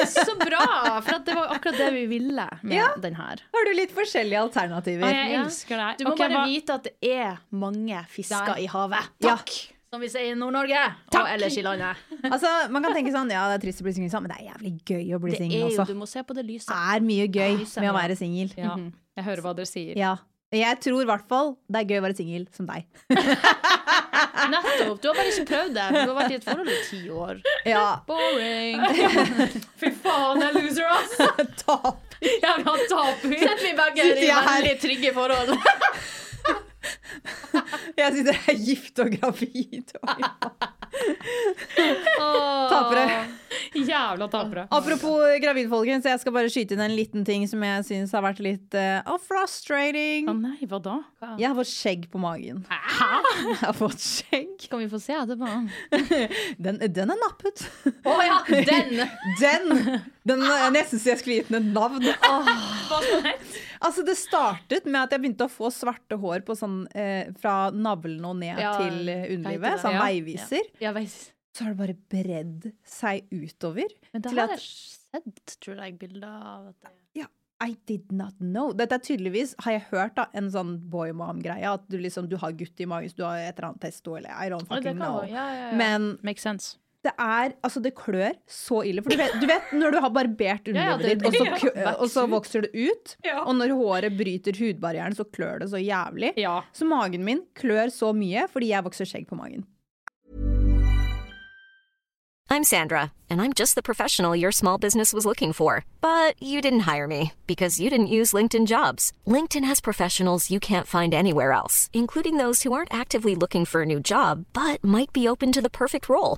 [SPEAKER 2] Så bra! For at det var akkurat det vi ville med
[SPEAKER 1] Ja.
[SPEAKER 2] den her.
[SPEAKER 1] har du litt forskjellige alternativer.
[SPEAKER 3] Jeg elsker deg.
[SPEAKER 2] Du må
[SPEAKER 3] Ok,
[SPEAKER 2] bare
[SPEAKER 3] hva-
[SPEAKER 2] vite at det er mange fisker
[SPEAKER 3] Der.
[SPEAKER 2] i havet.
[SPEAKER 1] Ja.
[SPEAKER 2] Som vi sier i Nord-Norge. Og ellers i landet.
[SPEAKER 1] Altså, man kan tenke sånn, ja, det er trist å bli singel, sånn, men det er jævlig gøy å bli
[SPEAKER 2] Det er
[SPEAKER 1] singel
[SPEAKER 2] jo,
[SPEAKER 1] også.
[SPEAKER 2] du må se på det lyset.
[SPEAKER 1] Det er mye gøy
[SPEAKER 2] Lyset,
[SPEAKER 1] med å
[SPEAKER 2] ja.
[SPEAKER 1] være singel. Mhm.
[SPEAKER 3] Ja,
[SPEAKER 2] Mhm.
[SPEAKER 3] jeg hører hva dere sier.
[SPEAKER 1] Ja. Jeg tror i hvert fall det er gøy å være singel som deg.
[SPEAKER 2] Ah. Nettopp. Du har bare ikke prøvd det. Du har vært i et forhold i ti år.
[SPEAKER 1] Ja,
[SPEAKER 2] Boring.
[SPEAKER 3] Fy faen, jeg er loser, ass!
[SPEAKER 1] topp!
[SPEAKER 3] Jeg vil ha taper.
[SPEAKER 2] Vi begge
[SPEAKER 1] Sitter jeg her?
[SPEAKER 2] trygge forhold.
[SPEAKER 1] Jeg sitter her gift og gravid. Oi.
[SPEAKER 2] Åh.
[SPEAKER 1] Tapere.
[SPEAKER 3] Jævla tapere.
[SPEAKER 1] Apropos gravid, folkens. Jeg skal bare skyte inn en liten ting som jeg syns har vært litt eh, ah, frustrating.
[SPEAKER 3] Å nei, hva da?
[SPEAKER 1] Jeg har fått skjegg på magen. Jeg har fått skjegg.
[SPEAKER 2] Kan vi få se etterpå?
[SPEAKER 1] Den, den er nappet.
[SPEAKER 2] Å ja, den!
[SPEAKER 1] Den! den jeg nesten så jeg skulle gitt den et navn. Altså, det startet med at jeg begynte å få svarte hår på sånn, eh, fra navlen og ned
[SPEAKER 2] Ja,
[SPEAKER 1] til eh,
[SPEAKER 2] vet
[SPEAKER 1] underlivet.
[SPEAKER 2] du det?
[SPEAKER 1] Sånn
[SPEAKER 2] Ja,
[SPEAKER 1] veiviser.
[SPEAKER 2] Ja, veis.
[SPEAKER 1] Så har det bare bredd seg utover.
[SPEAKER 2] Men det
[SPEAKER 1] Til at-
[SPEAKER 2] har jeg sett, tror jeg, bilder av. At det.
[SPEAKER 1] I did not know. Dette er tydeligvis, har jeg hørt, da, en sånn boy mom-greie. At du liksom, du har gutt i magen, så du har et eller annet testo, eller I don't
[SPEAKER 2] Ja,
[SPEAKER 1] fucking
[SPEAKER 2] det kan
[SPEAKER 1] know.
[SPEAKER 2] være. ja, ja, ja.
[SPEAKER 1] Men
[SPEAKER 2] Makes sense.
[SPEAKER 1] det er Altså, det klør så ille. For du vet, du vet når du har barbert
[SPEAKER 2] Ja, ja,
[SPEAKER 1] underlivet
[SPEAKER 2] det-
[SPEAKER 1] ditt, og så
[SPEAKER 2] ja,
[SPEAKER 1] kø-
[SPEAKER 2] vokser
[SPEAKER 1] og så vokser det ut.
[SPEAKER 3] Ja.
[SPEAKER 1] Og når håret bryter hudbarrieren, så klør det så jævlig.
[SPEAKER 3] Ja.
[SPEAKER 1] Så magen min klør så mye fordi jeg vokser skjegg på magen.
[SPEAKER 5] I'm Sandra, and I'm just the professional your small business was looking for. But you didn't hire me because you didn't use LinkedIn jobs. LinkedIn has professionals you can't find anywhere else, including those who aren't actively looking for a new job but might be open to the perfect role,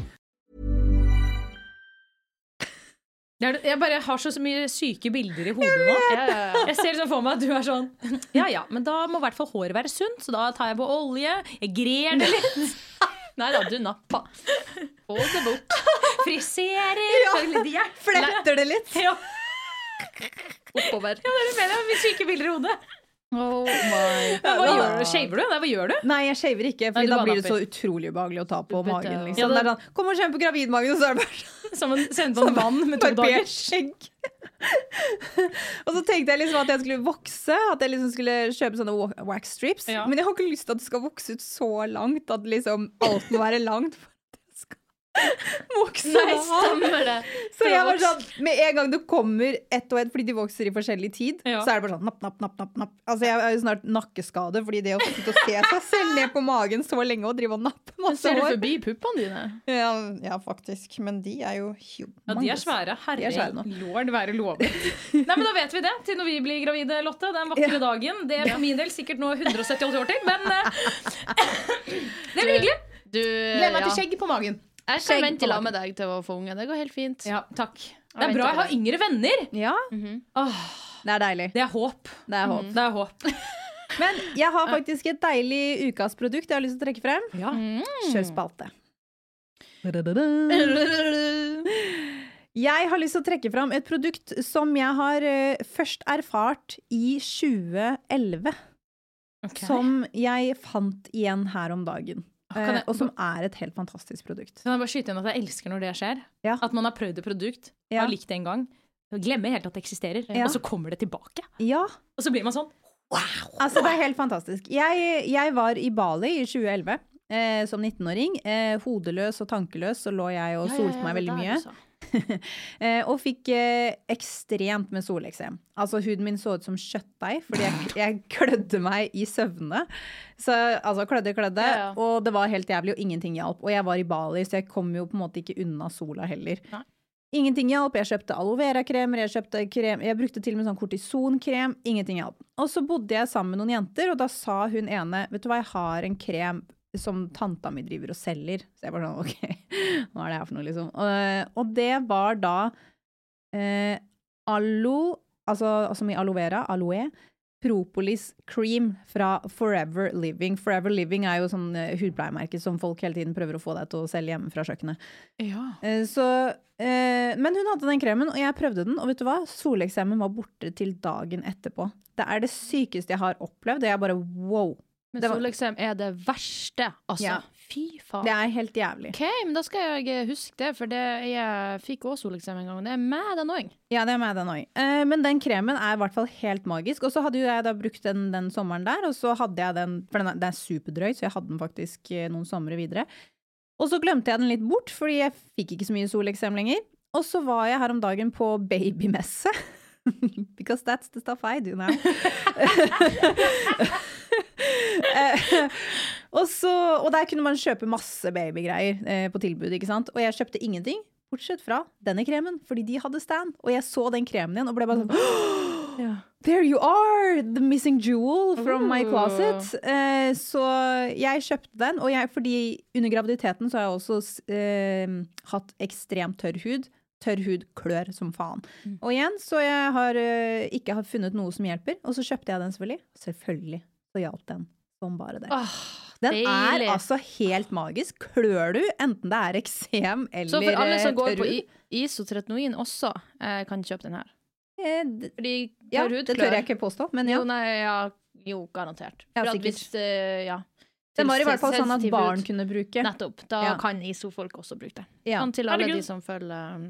[SPEAKER 3] Det er, jeg bare har så mye syke bilder i hodet nå.
[SPEAKER 2] Ja, ja, ja.
[SPEAKER 3] Jeg ser sånn for meg at du er sånn Ja ja, men da må i hvert fall håret være sunt, så da tar jeg på olje. Jeg grer det litt.
[SPEAKER 2] Nei da, du nappa. Få det bort.
[SPEAKER 3] Friserer. tar litt hjelp.
[SPEAKER 1] Fletter det litt?
[SPEAKER 3] Ja,
[SPEAKER 2] Oppover.
[SPEAKER 3] det er det jeg mener jeg. Mye syke bilder i hodet.
[SPEAKER 2] Oh my
[SPEAKER 3] Men Hva gjør du? Shaver du? Nei, hva gjør du?
[SPEAKER 1] Nei, jeg shaver ikke,
[SPEAKER 3] Nei,
[SPEAKER 1] for
[SPEAKER 3] du
[SPEAKER 1] da
[SPEAKER 3] bare
[SPEAKER 1] blir det så
[SPEAKER 3] napper.
[SPEAKER 1] utrolig ubehagelig å ta på
[SPEAKER 2] Du putter-
[SPEAKER 1] magen. Liksom.
[SPEAKER 3] Ja,
[SPEAKER 1] det...
[SPEAKER 3] det-
[SPEAKER 1] er sånn, Kom og kjenn på gravidmagen, og så er det bare
[SPEAKER 3] Som en, sende på en mann med to
[SPEAKER 1] barbert
[SPEAKER 3] dager.
[SPEAKER 1] skjegg. og så tenkte jeg liksom at jeg skulle vokse, at jeg liksom skulle kjøpe sånne wa- wax strips.
[SPEAKER 3] Ja.
[SPEAKER 1] Men jeg har ikke lyst til at det skal vokse ut så langt at liksom alt må være langt. for at jeg skal Vokse
[SPEAKER 2] Nei,
[SPEAKER 1] av.
[SPEAKER 2] stemmer det.
[SPEAKER 1] Så jeg var sånn, Med en gang det kommer ett og ett, fordi de vokser i forskjellig tid,
[SPEAKER 3] Ja.
[SPEAKER 1] så er det bare sånn napp, napp, napp, napp, napp. Altså Jeg er jo snart nakkeskade, fordi det å sitte og se seg selv ned på magen så lenge og drive og nappe masse
[SPEAKER 2] Ser du
[SPEAKER 1] hår
[SPEAKER 2] forbi puppene dine?
[SPEAKER 1] ja, ja, faktisk. Men de er jo
[SPEAKER 3] Ja, de er svære.
[SPEAKER 1] De er svære
[SPEAKER 3] Herre
[SPEAKER 1] nå.
[SPEAKER 3] lord være lovet. Nei, men da vet vi det til når vi blir gravide, Lotte. Den vakre dagen. Det er for min del sikkert nå 178 år til, men eh, Det blir hyggelig.
[SPEAKER 2] Du,
[SPEAKER 1] Gleder meg
[SPEAKER 2] ja.
[SPEAKER 1] til skegg på magen.
[SPEAKER 2] Jeg
[SPEAKER 1] skjegg
[SPEAKER 2] kan
[SPEAKER 1] på
[SPEAKER 2] vente i lag med deg til å få unge. Det går helt fint.
[SPEAKER 3] Ja, takk. Det er
[SPEAKER 2] venter
[SPEAKER 3] bra
[SPEAKER 2] på
[SPEAKER 3] jeg har
[SPEAKER 2] deg.
[SPEAKER 3] yngre venner.
[SPEAKER 1] Ja, Det er deilig.
[SPEAKER 3] Det er håp.
[SPEAKER 1] Det er håp.
[SPEAKER 3] Det er håp.
[SPEAKER 1] Men
[SPEAKER 3] Mm.
[SPEAKER 1] jeg har faktisk et deilig ukas produkt jeg har lyst til å trekke frem. Mm.
[SPEAKER 3] Ja.
[SPEAKER 1] Kjør spalte. Jeg har lyst til å trekke fram et produkt som jeg har eh, først erfart i 2011. Som jeg fant igjen her om dagen.
[SPEAKER 3] kan jeg-
[SPEAKER 1] Eh, og som er et helt fantastisk produkt.
[SPEAKER 3] Kan jeg bare skyte inn at jeg elsker når det skjer?
[SPEAKER 1] Ja.
[SPEAKER 3] At man har prøvd et produkt,
[SPEAKER 1] Ja.
[SPEAKER 3] har likt det en gang, glemmer helt at det eksisterer,
[SPEAKER 1] Ja.
[SPEAKER 3] og så kommer det tilbake.
[SPEAKER 1] Ja,
[SPEAKER 3] Og så blir man sånn
[SPEAKER 1] Altså, det er helt fantastisk. Jeg, jeg var i Bali i 2011 eh, som 19-åring. Eh, hodeløs og tankeløs, så lå jeg og solte meg veldig mye. Eh, og fikk eh, ekstremt med soleksem. Altså, huden min så ut som kjøttdeig, fordi jeg, jeg klødde meg i søvne. Så altså, klødde, klødde.
[SPEAKER 2] Ja, ja.
[SPEAKER 1] Og det var helt jævlig, og ingenting hjalp. Og jeg var i Bali, så jeg kom jo på en måte ikke unna sola heller.
[SPEAKER 3] Nei.
[SPEAKER 1] Ingenting hjalp. Jeg kjøpte aloe vera-kremer, jeg, kjøpte krem- jeg brukte til og med sånn kortisonkrem. Ingenting hjalp. Og så bodde jeg sammen med noen jenter, og da sa hun ene Vet du hva, jeg har en krem som tanta mi driver og selger. Så jeg bare sånn, ok, hva er det her for noe, liksom? Og, og det var da eh, alo, altså som i aloe vera, aloe, propolis cream fra Forever Living. Forever Living er jo sånn eh, hudpleiemerke som folk hele tiden prøver å få deg til å selge hjemme fra kjøkkenet. Eh, Så, eh, men hun hadde den kremen, og jeg prøvde den. Og vet du hva? Soleksemen var borte til dagen etterpå. Det er det sykeste jeg har opplevd. Og jeg bare wow.
[SPEAKER 2] Men
[SPEAKER 1] Det var-
[SPEAKER 2] soleksem er det verste. Altså,
[SPEAKER 1] Ja.
[SPEAKER 2] Fy faen.
[SPEAKER 1] Det er helt jævlig.
[SPEAKER 2] OK, men da skal jeg huske det, for det, jeg fikk også soleksamen en gang. Det er mad annoying.
[SPEAKER 1] Ja, det er meg den òg. Eh, Men den kremen er i hvert fall helt magisk. Og så hadde jo jeg da brukt den den sommeren der, og så hadde jeg den For den er, den er superdrøy, så jeg hadde den faktisk eh, noen somre videre. Og så glemte jeg den litt bort, fordi jeg fikk ikke så mye soleksem lenger. Og så var jeg her om dagen på babymesse. Because that's the stuff I do now. Eh, og, så, og der kunne man kjøpe masse babygreier eh, på tilbud, ikke sant. Og jeg kjøpte ingenting, bortsett fra denne kremen, fordi de hadde stand. Og jeg så den kremen igjen og ble bare sånn There you are! The missing jewel from my closet. Eh, så jeg kjøpte den, og jeg, fordi under graviditeten så har jeg også s- eh, hatt ekstremt tørr hud. Tørr hud klør som faen. Og igjen, så jeg har eh, ikke har funnet noe som hjelper, og så kjøpte jeg den selvfølgelig. Selvfølgelig så hjalp den som bare det. den er
[SPEAKER 2] deilig.
[SPEAKER 1] altså helt magisk. Klør du, enten det er eksem eller eh,
[SPEAKER 2] Så for alle som går
[SPEAKER 1] tørr
[SPEAKER 2] på
[SPEAKER 1] hud.
[SPEAKER 2] i- isotretinoin også, eh, kan kjøpe den her.
[SPEAKER 1] Eh, d-
[SPEAKER 2] Fordi tørr
[SPEAKER 1] Ja,
[SPEAKER 2] hud
[SPEAKER 1] det
[SPEAKER 2] klør.
[SPEAKER 1] tør jeg ikke påstå, men ja.
[SPEAKER 2] Jo, nei, ja, jo garantert.
[SPEAKER 1] Ja,
[SPEAKER 2] For at
[SPEAKER 1] sikkert.
[SPEAKER 2] hvis, eh, ja,
[SPEAKER 1] Den var i hvert fall sånn at
[SPEAKER 2] sensitiv
[SPEAKER 1] barn
[SPEAKER 2] hud.
[SPEAKER 1] kunne bruke.
[SPEAKER 2] Nettopp. Da
[SPEAKER 1] Ja.
[SPEAKER 2] kan ISO-folk også bruke den.
[SPEAKER 1] Ja.
[SPEAKER 2] Sånn til alle de som følger, um,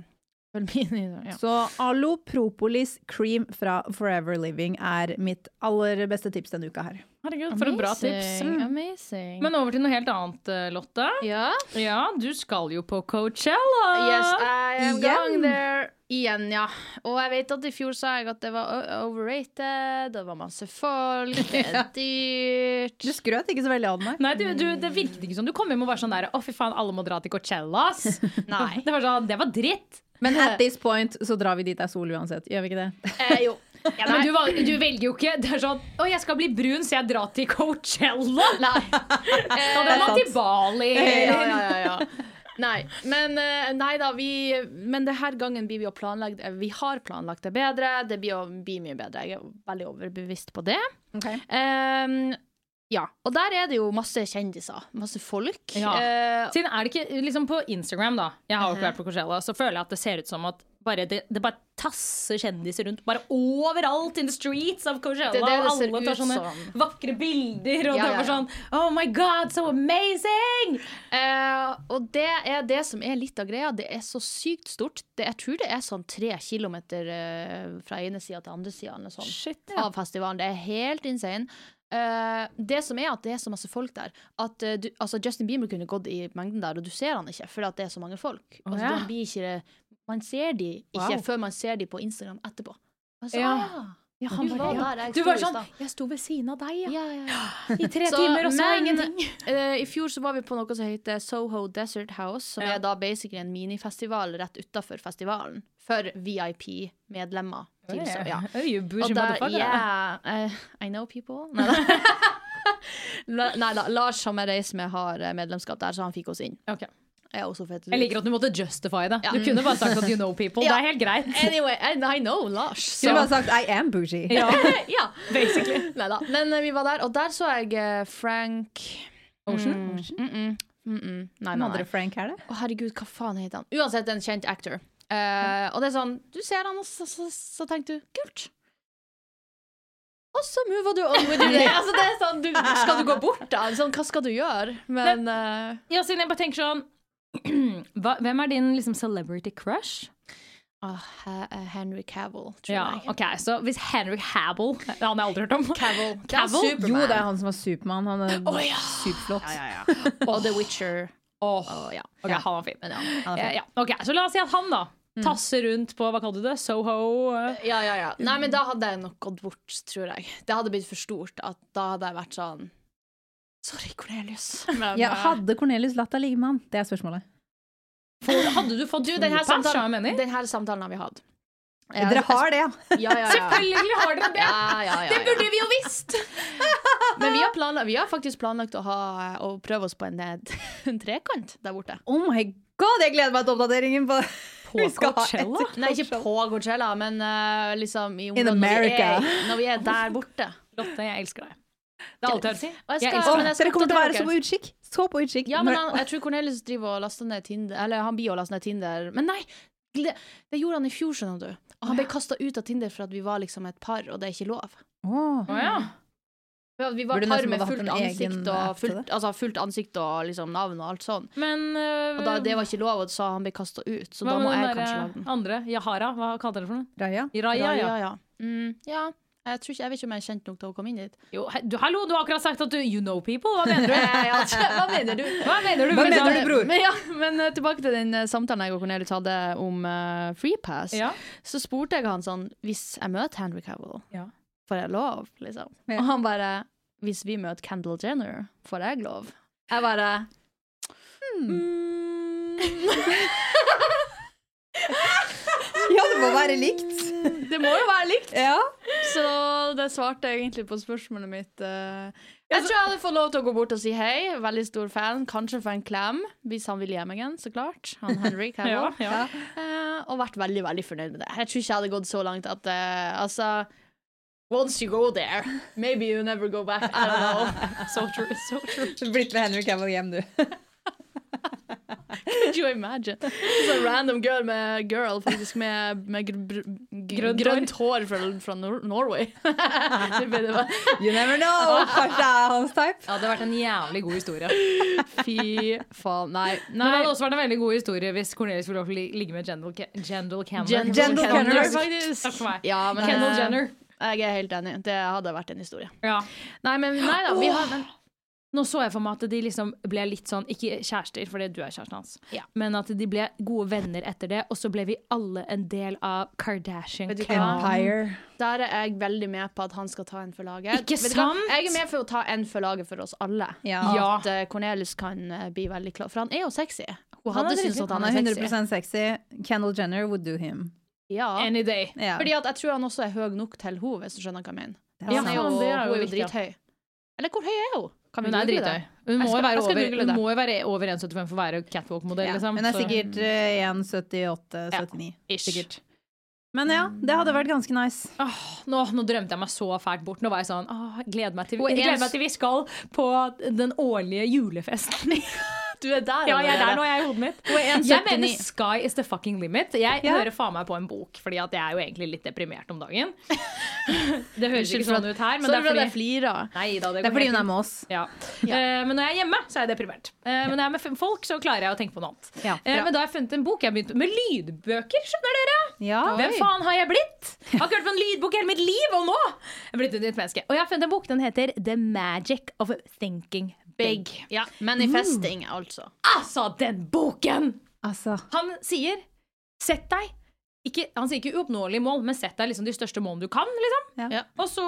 [SPEAKER 2] følger min ja.
[SPEAKER 1] Så Alo Propolis Cream fra Forever Living er mitt aller beste tips denne uka her.
[SPEAKER 3] Herregud, for et bra tips.
[SPEAKER 2] Amazing, Amazing.
[SPEAKER 3] Men over til noe helt annet, eh, Lotte.
[SPEAKER 2] ja.
[SPEAKER 3] Ja, du skal jo på Coachella.
[SPEAKER 2] Yes, I am
[SPEAKER 1] Igjen.
[SPEAKER 2] going there. Ah, Igjen, ja. Og jeg vet at i fjor sa jeg at det var o- overrated, det var masse folk, det er dyrt.
[SPEAKER 1] Du skrøt ikke så veldig av meg.
[SPEAKER 3] Nei, du, du, det virket ikke som du kom hjem og var sånn der Å, fy faen, alle må dra til Coachella, ass.
[SPEAKER 2] Nei.
[SPEAKER 3] Det var sånn, det var dritt.
[SPEAKER 1] Men at this point så drar vi dit det er sol uansett. Gjør vi ikke det?
[SPEAKER 2] Eh, jo. Ja,
[SPEAKER 3] Men
[SPEAKER 2] nei.
[SPEAKER 3] du, valg- du velger jo ikke Det er sånn Å, jeg skal bli brun, så jeg drar til Coachella.
[SPEAKER 2] Nei. Eh,
[SPEAKER 3] Da drar man til Bali.
[SPEAKER 2] ja, ja, ja, ja. Nei, men eh, nei da, vi Men det her gangen blir vi jo planlagt eh, Vi har planlagt det bedre. Det blir jo blir mye bedre. Jeg er veldig overbevist på det. Ehm, ja. Og der er det jo masse kjendiser. Masse folk.
[SPEAKER 3] Ja.
[SPEAKER 2] Eh,
[SPEAKER 3] Siden er det ikke liksom på Instagram, da Jeg har jo
[SPEAKER 2] Mhm.
[SPEAKER 3] ikke vært på Coachella, så føler jeg at det ser ut som at bare det, det bare tasser kjendiser rundt. Bare overalt in the streets of Coachella.
[SPEAKER 2] Det er det det
[SPEAKER 3] og
[SPEAKER 2] ser
[SPEAKER 3] alle tar
[SPEAKER 2] ut
[SPEAKER 3] sånne
[SPEAKER 2] som.
[SPEAKER 3] vakre bilder, og
[SPEAKER 2] Ja,
[SPEAKER 3] det er
[SPEAKER 2] ja,
[SPEAKER 3] bare
[SPEAKER 2] ja.
[SPEAKER 3] sånn Oh my god, so amazing!
[SPEAKER 2] Eh, og det er det som er litt av greia. Det er så sykt stort. Det, jeg tror det er sånn tre kilometer eh, fra ene sida til andre sida av festivalen. Det er helt insane. Eh, det som er at det er så masse folk der. At, eh, du, altså Justin Bieber kunne gått i mengden der, og du ser han ikke fordi at det er så mange folk. Altså,
[SPEAKER 3] ja.
[SPEAKER 2] da blir ikke, man ser de ikke
[SPEAKER 1] Wow.
[SPEAKER 2] før man ser de på Instagram etterpå. Og Så,
[SPEAKER 3] Ja.
[SPEAKER 2] ah, ja. han
[SPEAKER 3] Du
[SPEAKER 2] var
[SPEAKER 3] var-
[SPEAKER 2] der jeg
[SPEAKER 3] Du
[SPEAKER 2] sto
[SPEAKER 3] var
[SPEAKER 2] i
[SPEAKER 3] sånn
[SPEAKER 2] stad.
[SPEAKER 3] Jeg sto ved siden av deg, ja.
[SPEAKER 2] ja, ja, ja.
[SPEAKER 3] I tre
[SPEAKER 2] Så,
[SPEAKER 3] timer, og så
[SPEAKER 2] men-
[SPEAKER 3] ingenting.
[SPEAKER 2] Eh, I fjor så var vi på noe som heter Soho Desert House, som
[SPEAKER 3] Ja.
[SPEAKER 2] er da basically en minifestival rett utafor festivalen. For VIP-medlemmer. til så- Ja.
[SPEAKER 3] Oi, you bougie
[SPEAKER 2] Og der,
[SPEAKER 3] motherfucker.
[SPEAKER 2] yeah, eh, I know people. Neida. Ne- Neida, Lars som jeg reiser med, har eh, medlemskap der, så han fikk oss inn.
[SPEAKER 3] Ok.
[SPEAKER 2] Jeg er også fett.
[SPEAKER 3] Jeg liker at du måtte justify det.
[SPEAKER 2] Ja.
[SPEAKER 3] Du kunne bare sagt at you know people.
[SPEAKER 2] Ja.
[SPEAKER 3] Det er helt greit.
[SPEAKER 2] Anyway, I, I know Lars.
[SPEAKER 1] Skulle bare
[SPEAKER 2] Så.
[SPEAKER 1] sagt I am bougie.
[SPEAKER 2] ja, basically. Neida. Men eh, vi var der, og der så jeg eh, Frank
[SPEAKER 3] Ocean?
[SPEAKER 2] Mm -mm. Mm -mm. Nei,
[SPEAKER 1] Hvem
[SPEAKER 2] nei, nei.
[SPEAKER 1] andre Frank er det?
[SPEAKER 2] Å, herregud, hva faen heter han? Uansett, en kjent actor. Eh, og det er sånn, du ser han, og så, så, så tenkte du kult. Og så mover du on with your day. Altså, det er sånn, du, skal du gå bort, da? Sånn, hva skal du gjøre? Men eh,
[SPEAKER 3] Ja, siden jeg bare tenker sånn hva, Hvem er din liksom, celebrity crush?
[SPEAKER 2] ah, He- eh, Henry Cavill, tror
[SPEAKER 3] Ja,
[SPEAKER 2] jeg.
[SPEAKER 3] ok, så Hvis Henry Havel Han har jeg aldri hørt om.
[SPEAKER 2] Cavill. Det er
[SPEAKER 3] Cavill?
[SPEAKER 2] Superman.
[SPEAKER 1] Jo, det er han som var Supermann. Han er
[SPEAKER 2] Å, ja.
[SPEAKER 1] superflott.
[SPEAKER 2] Og The Witcher.
[SPEAKER 3] Åh,
[SPEAKER 2] Og, ja.
[SPEAKER 3] ok, Han var fin.
[SPEAKER 2] Men, ja.
[SPEAKER 3] Eh, ja, ok, Så la oss si at han da
[SPEAKER 2] Mm.
[SPEAKER 3] tasser rundt på hva kalte du det? Soho? eh,
[SPEAKER 2] ja, ja, ja. Nei, men da hadde jeg nok gått bort, tror jeg. Det hadde blitt for stort. At da hadde jeg vært sånn Sorry, Cornelius. Men,
[SPEAKER 1] Ja,
[SPEAKER 2] eh,
[SPEAKER 1] hadde Cornelius latt deg ligge med han? Det er spørsmålet.
[SPEAKER 3] Hadde du fått
[SPEAKER 2] Du, den her,
[SPEAKER 3] pass, jeg
[SPEAKER 2] samtalen,
[SPEAKER 3] mener?
[SPEAKER 2] den her samtalen har vi hatt.
[SPEAKER 1] Dere har det, ja.
[SPEAKER 2] Ja, ja, ja.
[SPEAKER 3] Selvfølgelig har dere det!
[SPEAKER 2] Ja, ja, ja, ja.
[SPEAKER 3] Det burde vi jo visst!
[SPEAKER 2] Men vi har, planlagt, vi har faktisk planlagt å, ha, å prøve oss på en, eh, en trekant der borte.
[SPEAKER 1] Oh my god, jeg gleder meg til oppdateringen på
[SPEAKER 3] På Coachella?
[SPEAKER 2] Nei, ikke på Coachella, men eh, liksom i området
[SPEAKER 1] America.
[SPEAKER 2] Når, vi er, når vi er der borte.
[SPEAKER 3] Lotte, jeg elsker deg. Det er alt jeg har å si.
[SPEAKER 2] Og jeg
[SPEAKER 3] Jeg
[SPEAKER 2] skal-
[SPEAKER 3] elsker
[SPEAKER 2] men
[SPEAKER 3] deg.
[SPEAKER 2] jeg skal
[SPEAKER 1] Dere kommer til å være
[SPEAKER 2] oppdatere
[SPEAKER 1] så på utkikk. Så på utkikk.
[SPEAKER 2] Ja, men
[SPEAKER 1] Når-
[SPEAKER 2] han, jeg tror Cornelius driver og laster ned Tinder Eller han blir og laster ned Tinder. Men nei! gle- Det gjorde han i fjor, skjønner du. Og han ble kasta ut av Tinder for at vi var liksom et par, og det er ikke lov.
[SPEAKER 1] Åh.
[SPEAKER 3] Å, ja.
[SPEAKER 2] Ja, vi var
[SPEAKER 1] Burde
[SPEAKER 2] par
[SPEAKER 1] nesten
[SPEAKER 2] med
[SPEAKER 1] ha hatt
[SPEAKER 2] fullt
[SPEAKER 1] en egen
[SPEAKER 2] ansikt, og
[SPEAKER 1] app til
[SPEAKER 2] fullt,
[SPEAKER 1] det.
[SPEAKER 2] altså, fullt ansikt og liksom navn og alt sånn.
[SPEAKER 3] Men øh,
[SPEAKER 2] Og da, det var ikke lov, og så han ble kasta ut. Så
[SPEAKER 3] hva
[SPEAKER 2] da
[SPEAKER 3] med
[SPEAKER 2] må jeg
[SPEAKER 3] den
[SPEAKER 2] kanskje
[SPEAKER 3] der, eh,
[SPEAKER 2] lage den.
[SPEAKER 3] andre? Yahara, hva kalte dere for noe?
[SPEAKER 1] Raja?
[SPEAKER 3] Raja, ja.
[SPEAKER 2] ah, ja. Mm, ja. Jeg, tror ikke, jeg vet ikke om jeg er kjent nok til å komme inn dit.
[SPEAKER 3] Jo, he- du, hallo, du har akkurat sagt at du you know people. Hva mener du?
[SPEAKER 2] Hva mener du?
[SPEAKER 3] Hva mener du? sånn-
[SPEAKER 1] Hva
[SPEAKER 3] Bror?
[SPEAKER 1] mener du, bror?
[SPEAKER 2] Men, ja, men eh, tilbake til den eh, samtalen jeg og Cornelius hadde om eh, FreePass.
[SPEAKER 3] Ja.
[SPEAKER 2] Så spurte jeg han sånn Hvis jeg møter Henry Cavill,
[SPEAKER 3] Ja.
[SPEAKER 2] får jeg lov? Liksom. Og han bare Hvis vi møter Kendall Jenner, får jeg lov? Jeg bare hmm,
[SPEAKER 1] Ja, det må være likt.
[SPEAKER 2] Det må jo være likt!
[SPEAKER 1] Ja.
[SPEAKER 2] Så det svarte jeg egentlig på spørsmålet mitt. eh. Jeg tror jeg hadde fått lov til å gå bort og si hei. Veldig stor fan. Kanskje få en klem, hvis han vil hjem igjen, så klart. Han Henry Cavill.
[SPEAKER 3] Ja, ja.
[SPEAKER 2] Eh, og vært veldig veldig fornøyd med det. Jeg tror ikke jeg hadde gått så langt at eh, Altså Once you go there, maybe you never go back. I don't know.
[SPEAKER 3] So true, so true.
[SPEAKER 1] Blitt med Henry Cavill hjem, du.
[SPEAKER 2] Could you imagine? Så random girl med girl faktisk med, med gr br grønt,
[SPEAKER 3] Grønt
[SPEAKER 2] grønt hår fra, fra Nor Norway. det ble det bare.
[SPEAKER 1] You never know! Kanskje det er hans type.
[SPEAKER 3] Ja, det hadde vært en jævlig god historie.
[SPEAKER 2] Fy faen. Nei.
[SPEAKER 3] Men det
[SPEAKER 2] nei.
[SPEAKER 3] hadde også vært en veldig god historie hvis Cornelius ville li- ligge med Jendal Ke- Jendal Cameron.
[SPEAKER 2] Jendal
[SPEAKER 1] Jendal Cameron.
[SPEAKER 3] Cameron, faktisk. Takk for meg.
[SPEAKER 2] Ja, men,
[SPEAKER 3] Kendall
[SPEAKER 2] eh,
[SPEAKER 3] Jenner.
[SPEAKER 2] Jeg er helt enig. Det hadde vært en historie.
[SPEAKER 3] Ja.
[SPEAKER 2] Nei, men nei da. Vi har, men,
[SPEAKER 3] Nå så jeg for meg at de liksom ble litt sånn, ikke kjærester, fordi du er kjæresten hans,
[SPEAKER 2] Ja.
[SPEAKER 3] men at de ble gode venner etter det, og så ble vi alle en del av Kardashian
[SPEAKER 2] Vet du hva?
[SPEAKER 3] Clan.
[SPEAKER 1] Empire.
[SPEAKER 2] der er jeg veldig med på at han skal ta en for laget.
[SPEAKER 3] Ikke
[SPEAKER 2] Vet du hva?
[SPEAKER 3] sant?
[SPEAKER 2] Jeg er med for å ta en for laget for oss alle.
[SPEAKER 1] Ja.
[SPEAKER 3] Ja.
[SPEAKER 2] At eh, Cornelius kan eh, bli veldig klar. For han er jo sexy. Hun
[SPEAKER 1] Han
[SPEAKER 2] hadde
[SPEAKER 1] er,
[SPEAKER 2] syntes at han er sexy.
[SPEAKER 1] 100 sexy. Kendall Jenner would do him.
[SPEAKER 2] Ja.
[SPEAKER 3] Any day.
[SPEAKER 1] Ja.
[SPEAKER 2] Fordi at jeg tror han også er høy nok til henne, hvis du skjønner hva jeg mener.
[SPEAKER 1] Det er
[SPEAKER 2] Han
[SPEAKER 3] Ja,
[SPEAKER 2] er
[SPEAKER 1] sant.
[SPEAKER 2] jo,
[SPEAKER 3] faen, det er jo
[SPEAKER 2] hun er jo
[SPEAKER 3] viktig, ja.
[SPEAKER 2] drithøy. Eller hvor høy er hun? Kan vi
[SPEAKER 3] Hun er
[SPEAKER 2] google
[SPEAKER 3] drithøy.
[SPEAKER 2] det?
[SPEAKER 3] Hun
[SPEAKER 2] Jeg
[SPEAKER 3] må jo
[SPEAKER 2] skal-
[SPEAKER 3] være
[SPEAKER 2] jeg skal
[SPEAKER 3] over,
[SPEAKER 2] google
[SPEAKER 3] hun
[SPEAKER 2] det.
[SPEAKER 3] må jo være over 1,75 for å være catwalk-modell.
[SPEAKER 1] Ja.
[SPEAKER 3] Liksom.
[SPEAKER 1] Hun er
[SPEAKER 3] så-
[SPEAKER 1] sikkert eh, 1,78-79.
[SPEAKER 3] Ish.
[SPEAKER 1] Men ja, det hadde vært ganske nice.
[SPEAKER 3] Åh, nå, nå drømte jeg meg så fælt bort. Nå var jeg sånn åh, jeg gleder meg til,
[SPEAKER 2] Hun er
[SPEAKER 3] jeg gleder
[SPEAKER 2] en-
[SPEAKER 3] meg til vi skal på den årlige julefesten.
[SPEAKER 2] Du er der
[SPEAKER 3] ja, jeg er
[SPEAKER 2] allerede.
[SPEAKER 3] der nå, jeg er i hodet mitt.
[SPEAKER 2] Hun er
[SPEAKER 3] Jeg
[SPEAKER 2] 1,79.
[SPEAKER 3] mener sky is the fucking limit. Jeg
[SPEAKER 1] Ja.
[SPEAKER 3] hører faen meg på en bok, Fordi at jeg er jo egentlig litt deprimert om dagen. Det høres
[SPEAKER 2] Unnskyld
[SPEAKER 3] ikke
[SPEAKER 2] for
[SPEAKER 3] sånn
[SPEAKER 2] at-
[SPEAKER 3] ut her, men
[SPEAKER 2] Sorry for
[SPEAKER 3] det
[SPEAKER 2] at
[SPEAKER 3] er
[SPEAKER 2] jeg
[SPEAKER 3] fordi
[SPEAKER 2] flirer.
[SPEAKER 3] Nei da,
[SPEAKER 1] Det
[SPEAKER 3] går
[SPEAKER 1] er fordi hun
[SPEAKER 3] helt fint.
[SPEAKER 1] er med oss.
[SPEAKER 3] Ja. Eh, men når jeg er hjemme, så er jeg deprimert. Eh, men når jeg er med f- folk, så klarer jeg å tenke på noe annet.
[SPEAKER 1] Ja.
[SPEAKER 3] Eh, men da har jeg funnet en bok. Jeg har begynt med lydbøker, skjønner dere.
[SPEAKER 1] Ja.
[SPEAKER 3] Hvem faen har jeg blitt? Jeg har ikke hørt på en lydbok hele mitt liv, og nå jeg er blitt et nytt menneske. Og jeg har funnet en bok. Den heter The Magic of Thinking Big.
[SPEAKER 2] Ja,
[SPEAKER 3] Mm.
[SPEAKER 2] manifesting, altså.
[SPEAKER 3] Altså, den boken!
[SPEAKER 1] Altså,
[SPEAKER 3] Han sier sett deg ikke, Han sier ikke uoppnåelige mål, men sett deg liksom de største målene du kan. Liksom.
[SPEAKER 1] Ja.
[SPEAKER 2] Ja.
[SPEAKER 3] Og så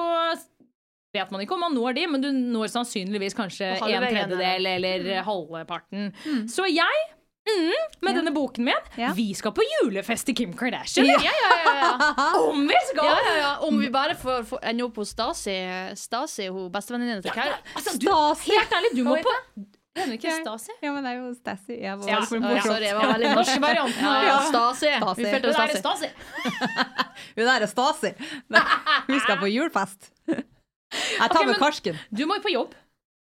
[SPEAKER 3] vet man ikke om man når de, men du når sannsynligvis kanskje
[SPEAKER 2] Og halve Mm.
[SPEAKER 3] en
[SPEAKER 2] veien,
[SPEAKER 3] tredjedel eller halvparten. Så jeg, mm, med denne boken min,
[SPEAKER 1] Ja.
[SPEAKER 3] vi skal på julefest til Kim Kardashian! Ja.
[SPEAKER 2] Ja, ja, ja, ja.
[SPEAKER 3] Om vi skal!
[SPEAKER 2] Ja, ja, ja. Om vi bare får, får ender opp hos Stasi, Stasi hun bestevenninna til Kau.
[SPEAKER 3] Altså, du, helt ærlig, du må på Hører ikke Stasi?
[SPEAKER 1] Ja, men det er jo Stassi. Jeg var
[SPEAKER 3] Ja,
[SPEAKER 1] veldig
[SPEAKER 2] Å, ja,
[SPEAKER 1] morsom.
[SPEAKER 2] sorry, jeg var veldig norsk.
[SPEAKER 3] Norske varianten
[SPEAKER 2] Ja,
[SPEAKER 3] av
[SPEAKER 2] ja, Stasi.
[SPEAKER 1] Stasi.
[SPEAKER 2] Vi
[SPEAKER 3] Hun
[SPEAKER 2] følte
[SPEAKER 3] er
[SPEAKER 2] Stasi.
[SPEAKER 3] Stasi.
[SPEAKER 1] Hun der er Stasi. Nei, Hun skal på julefest. Jeg tar
[SPEAKER 3] Ok, men-
[SPEAKER 1] med karsken.
[SPEAKER 3] Du må jo på jobb.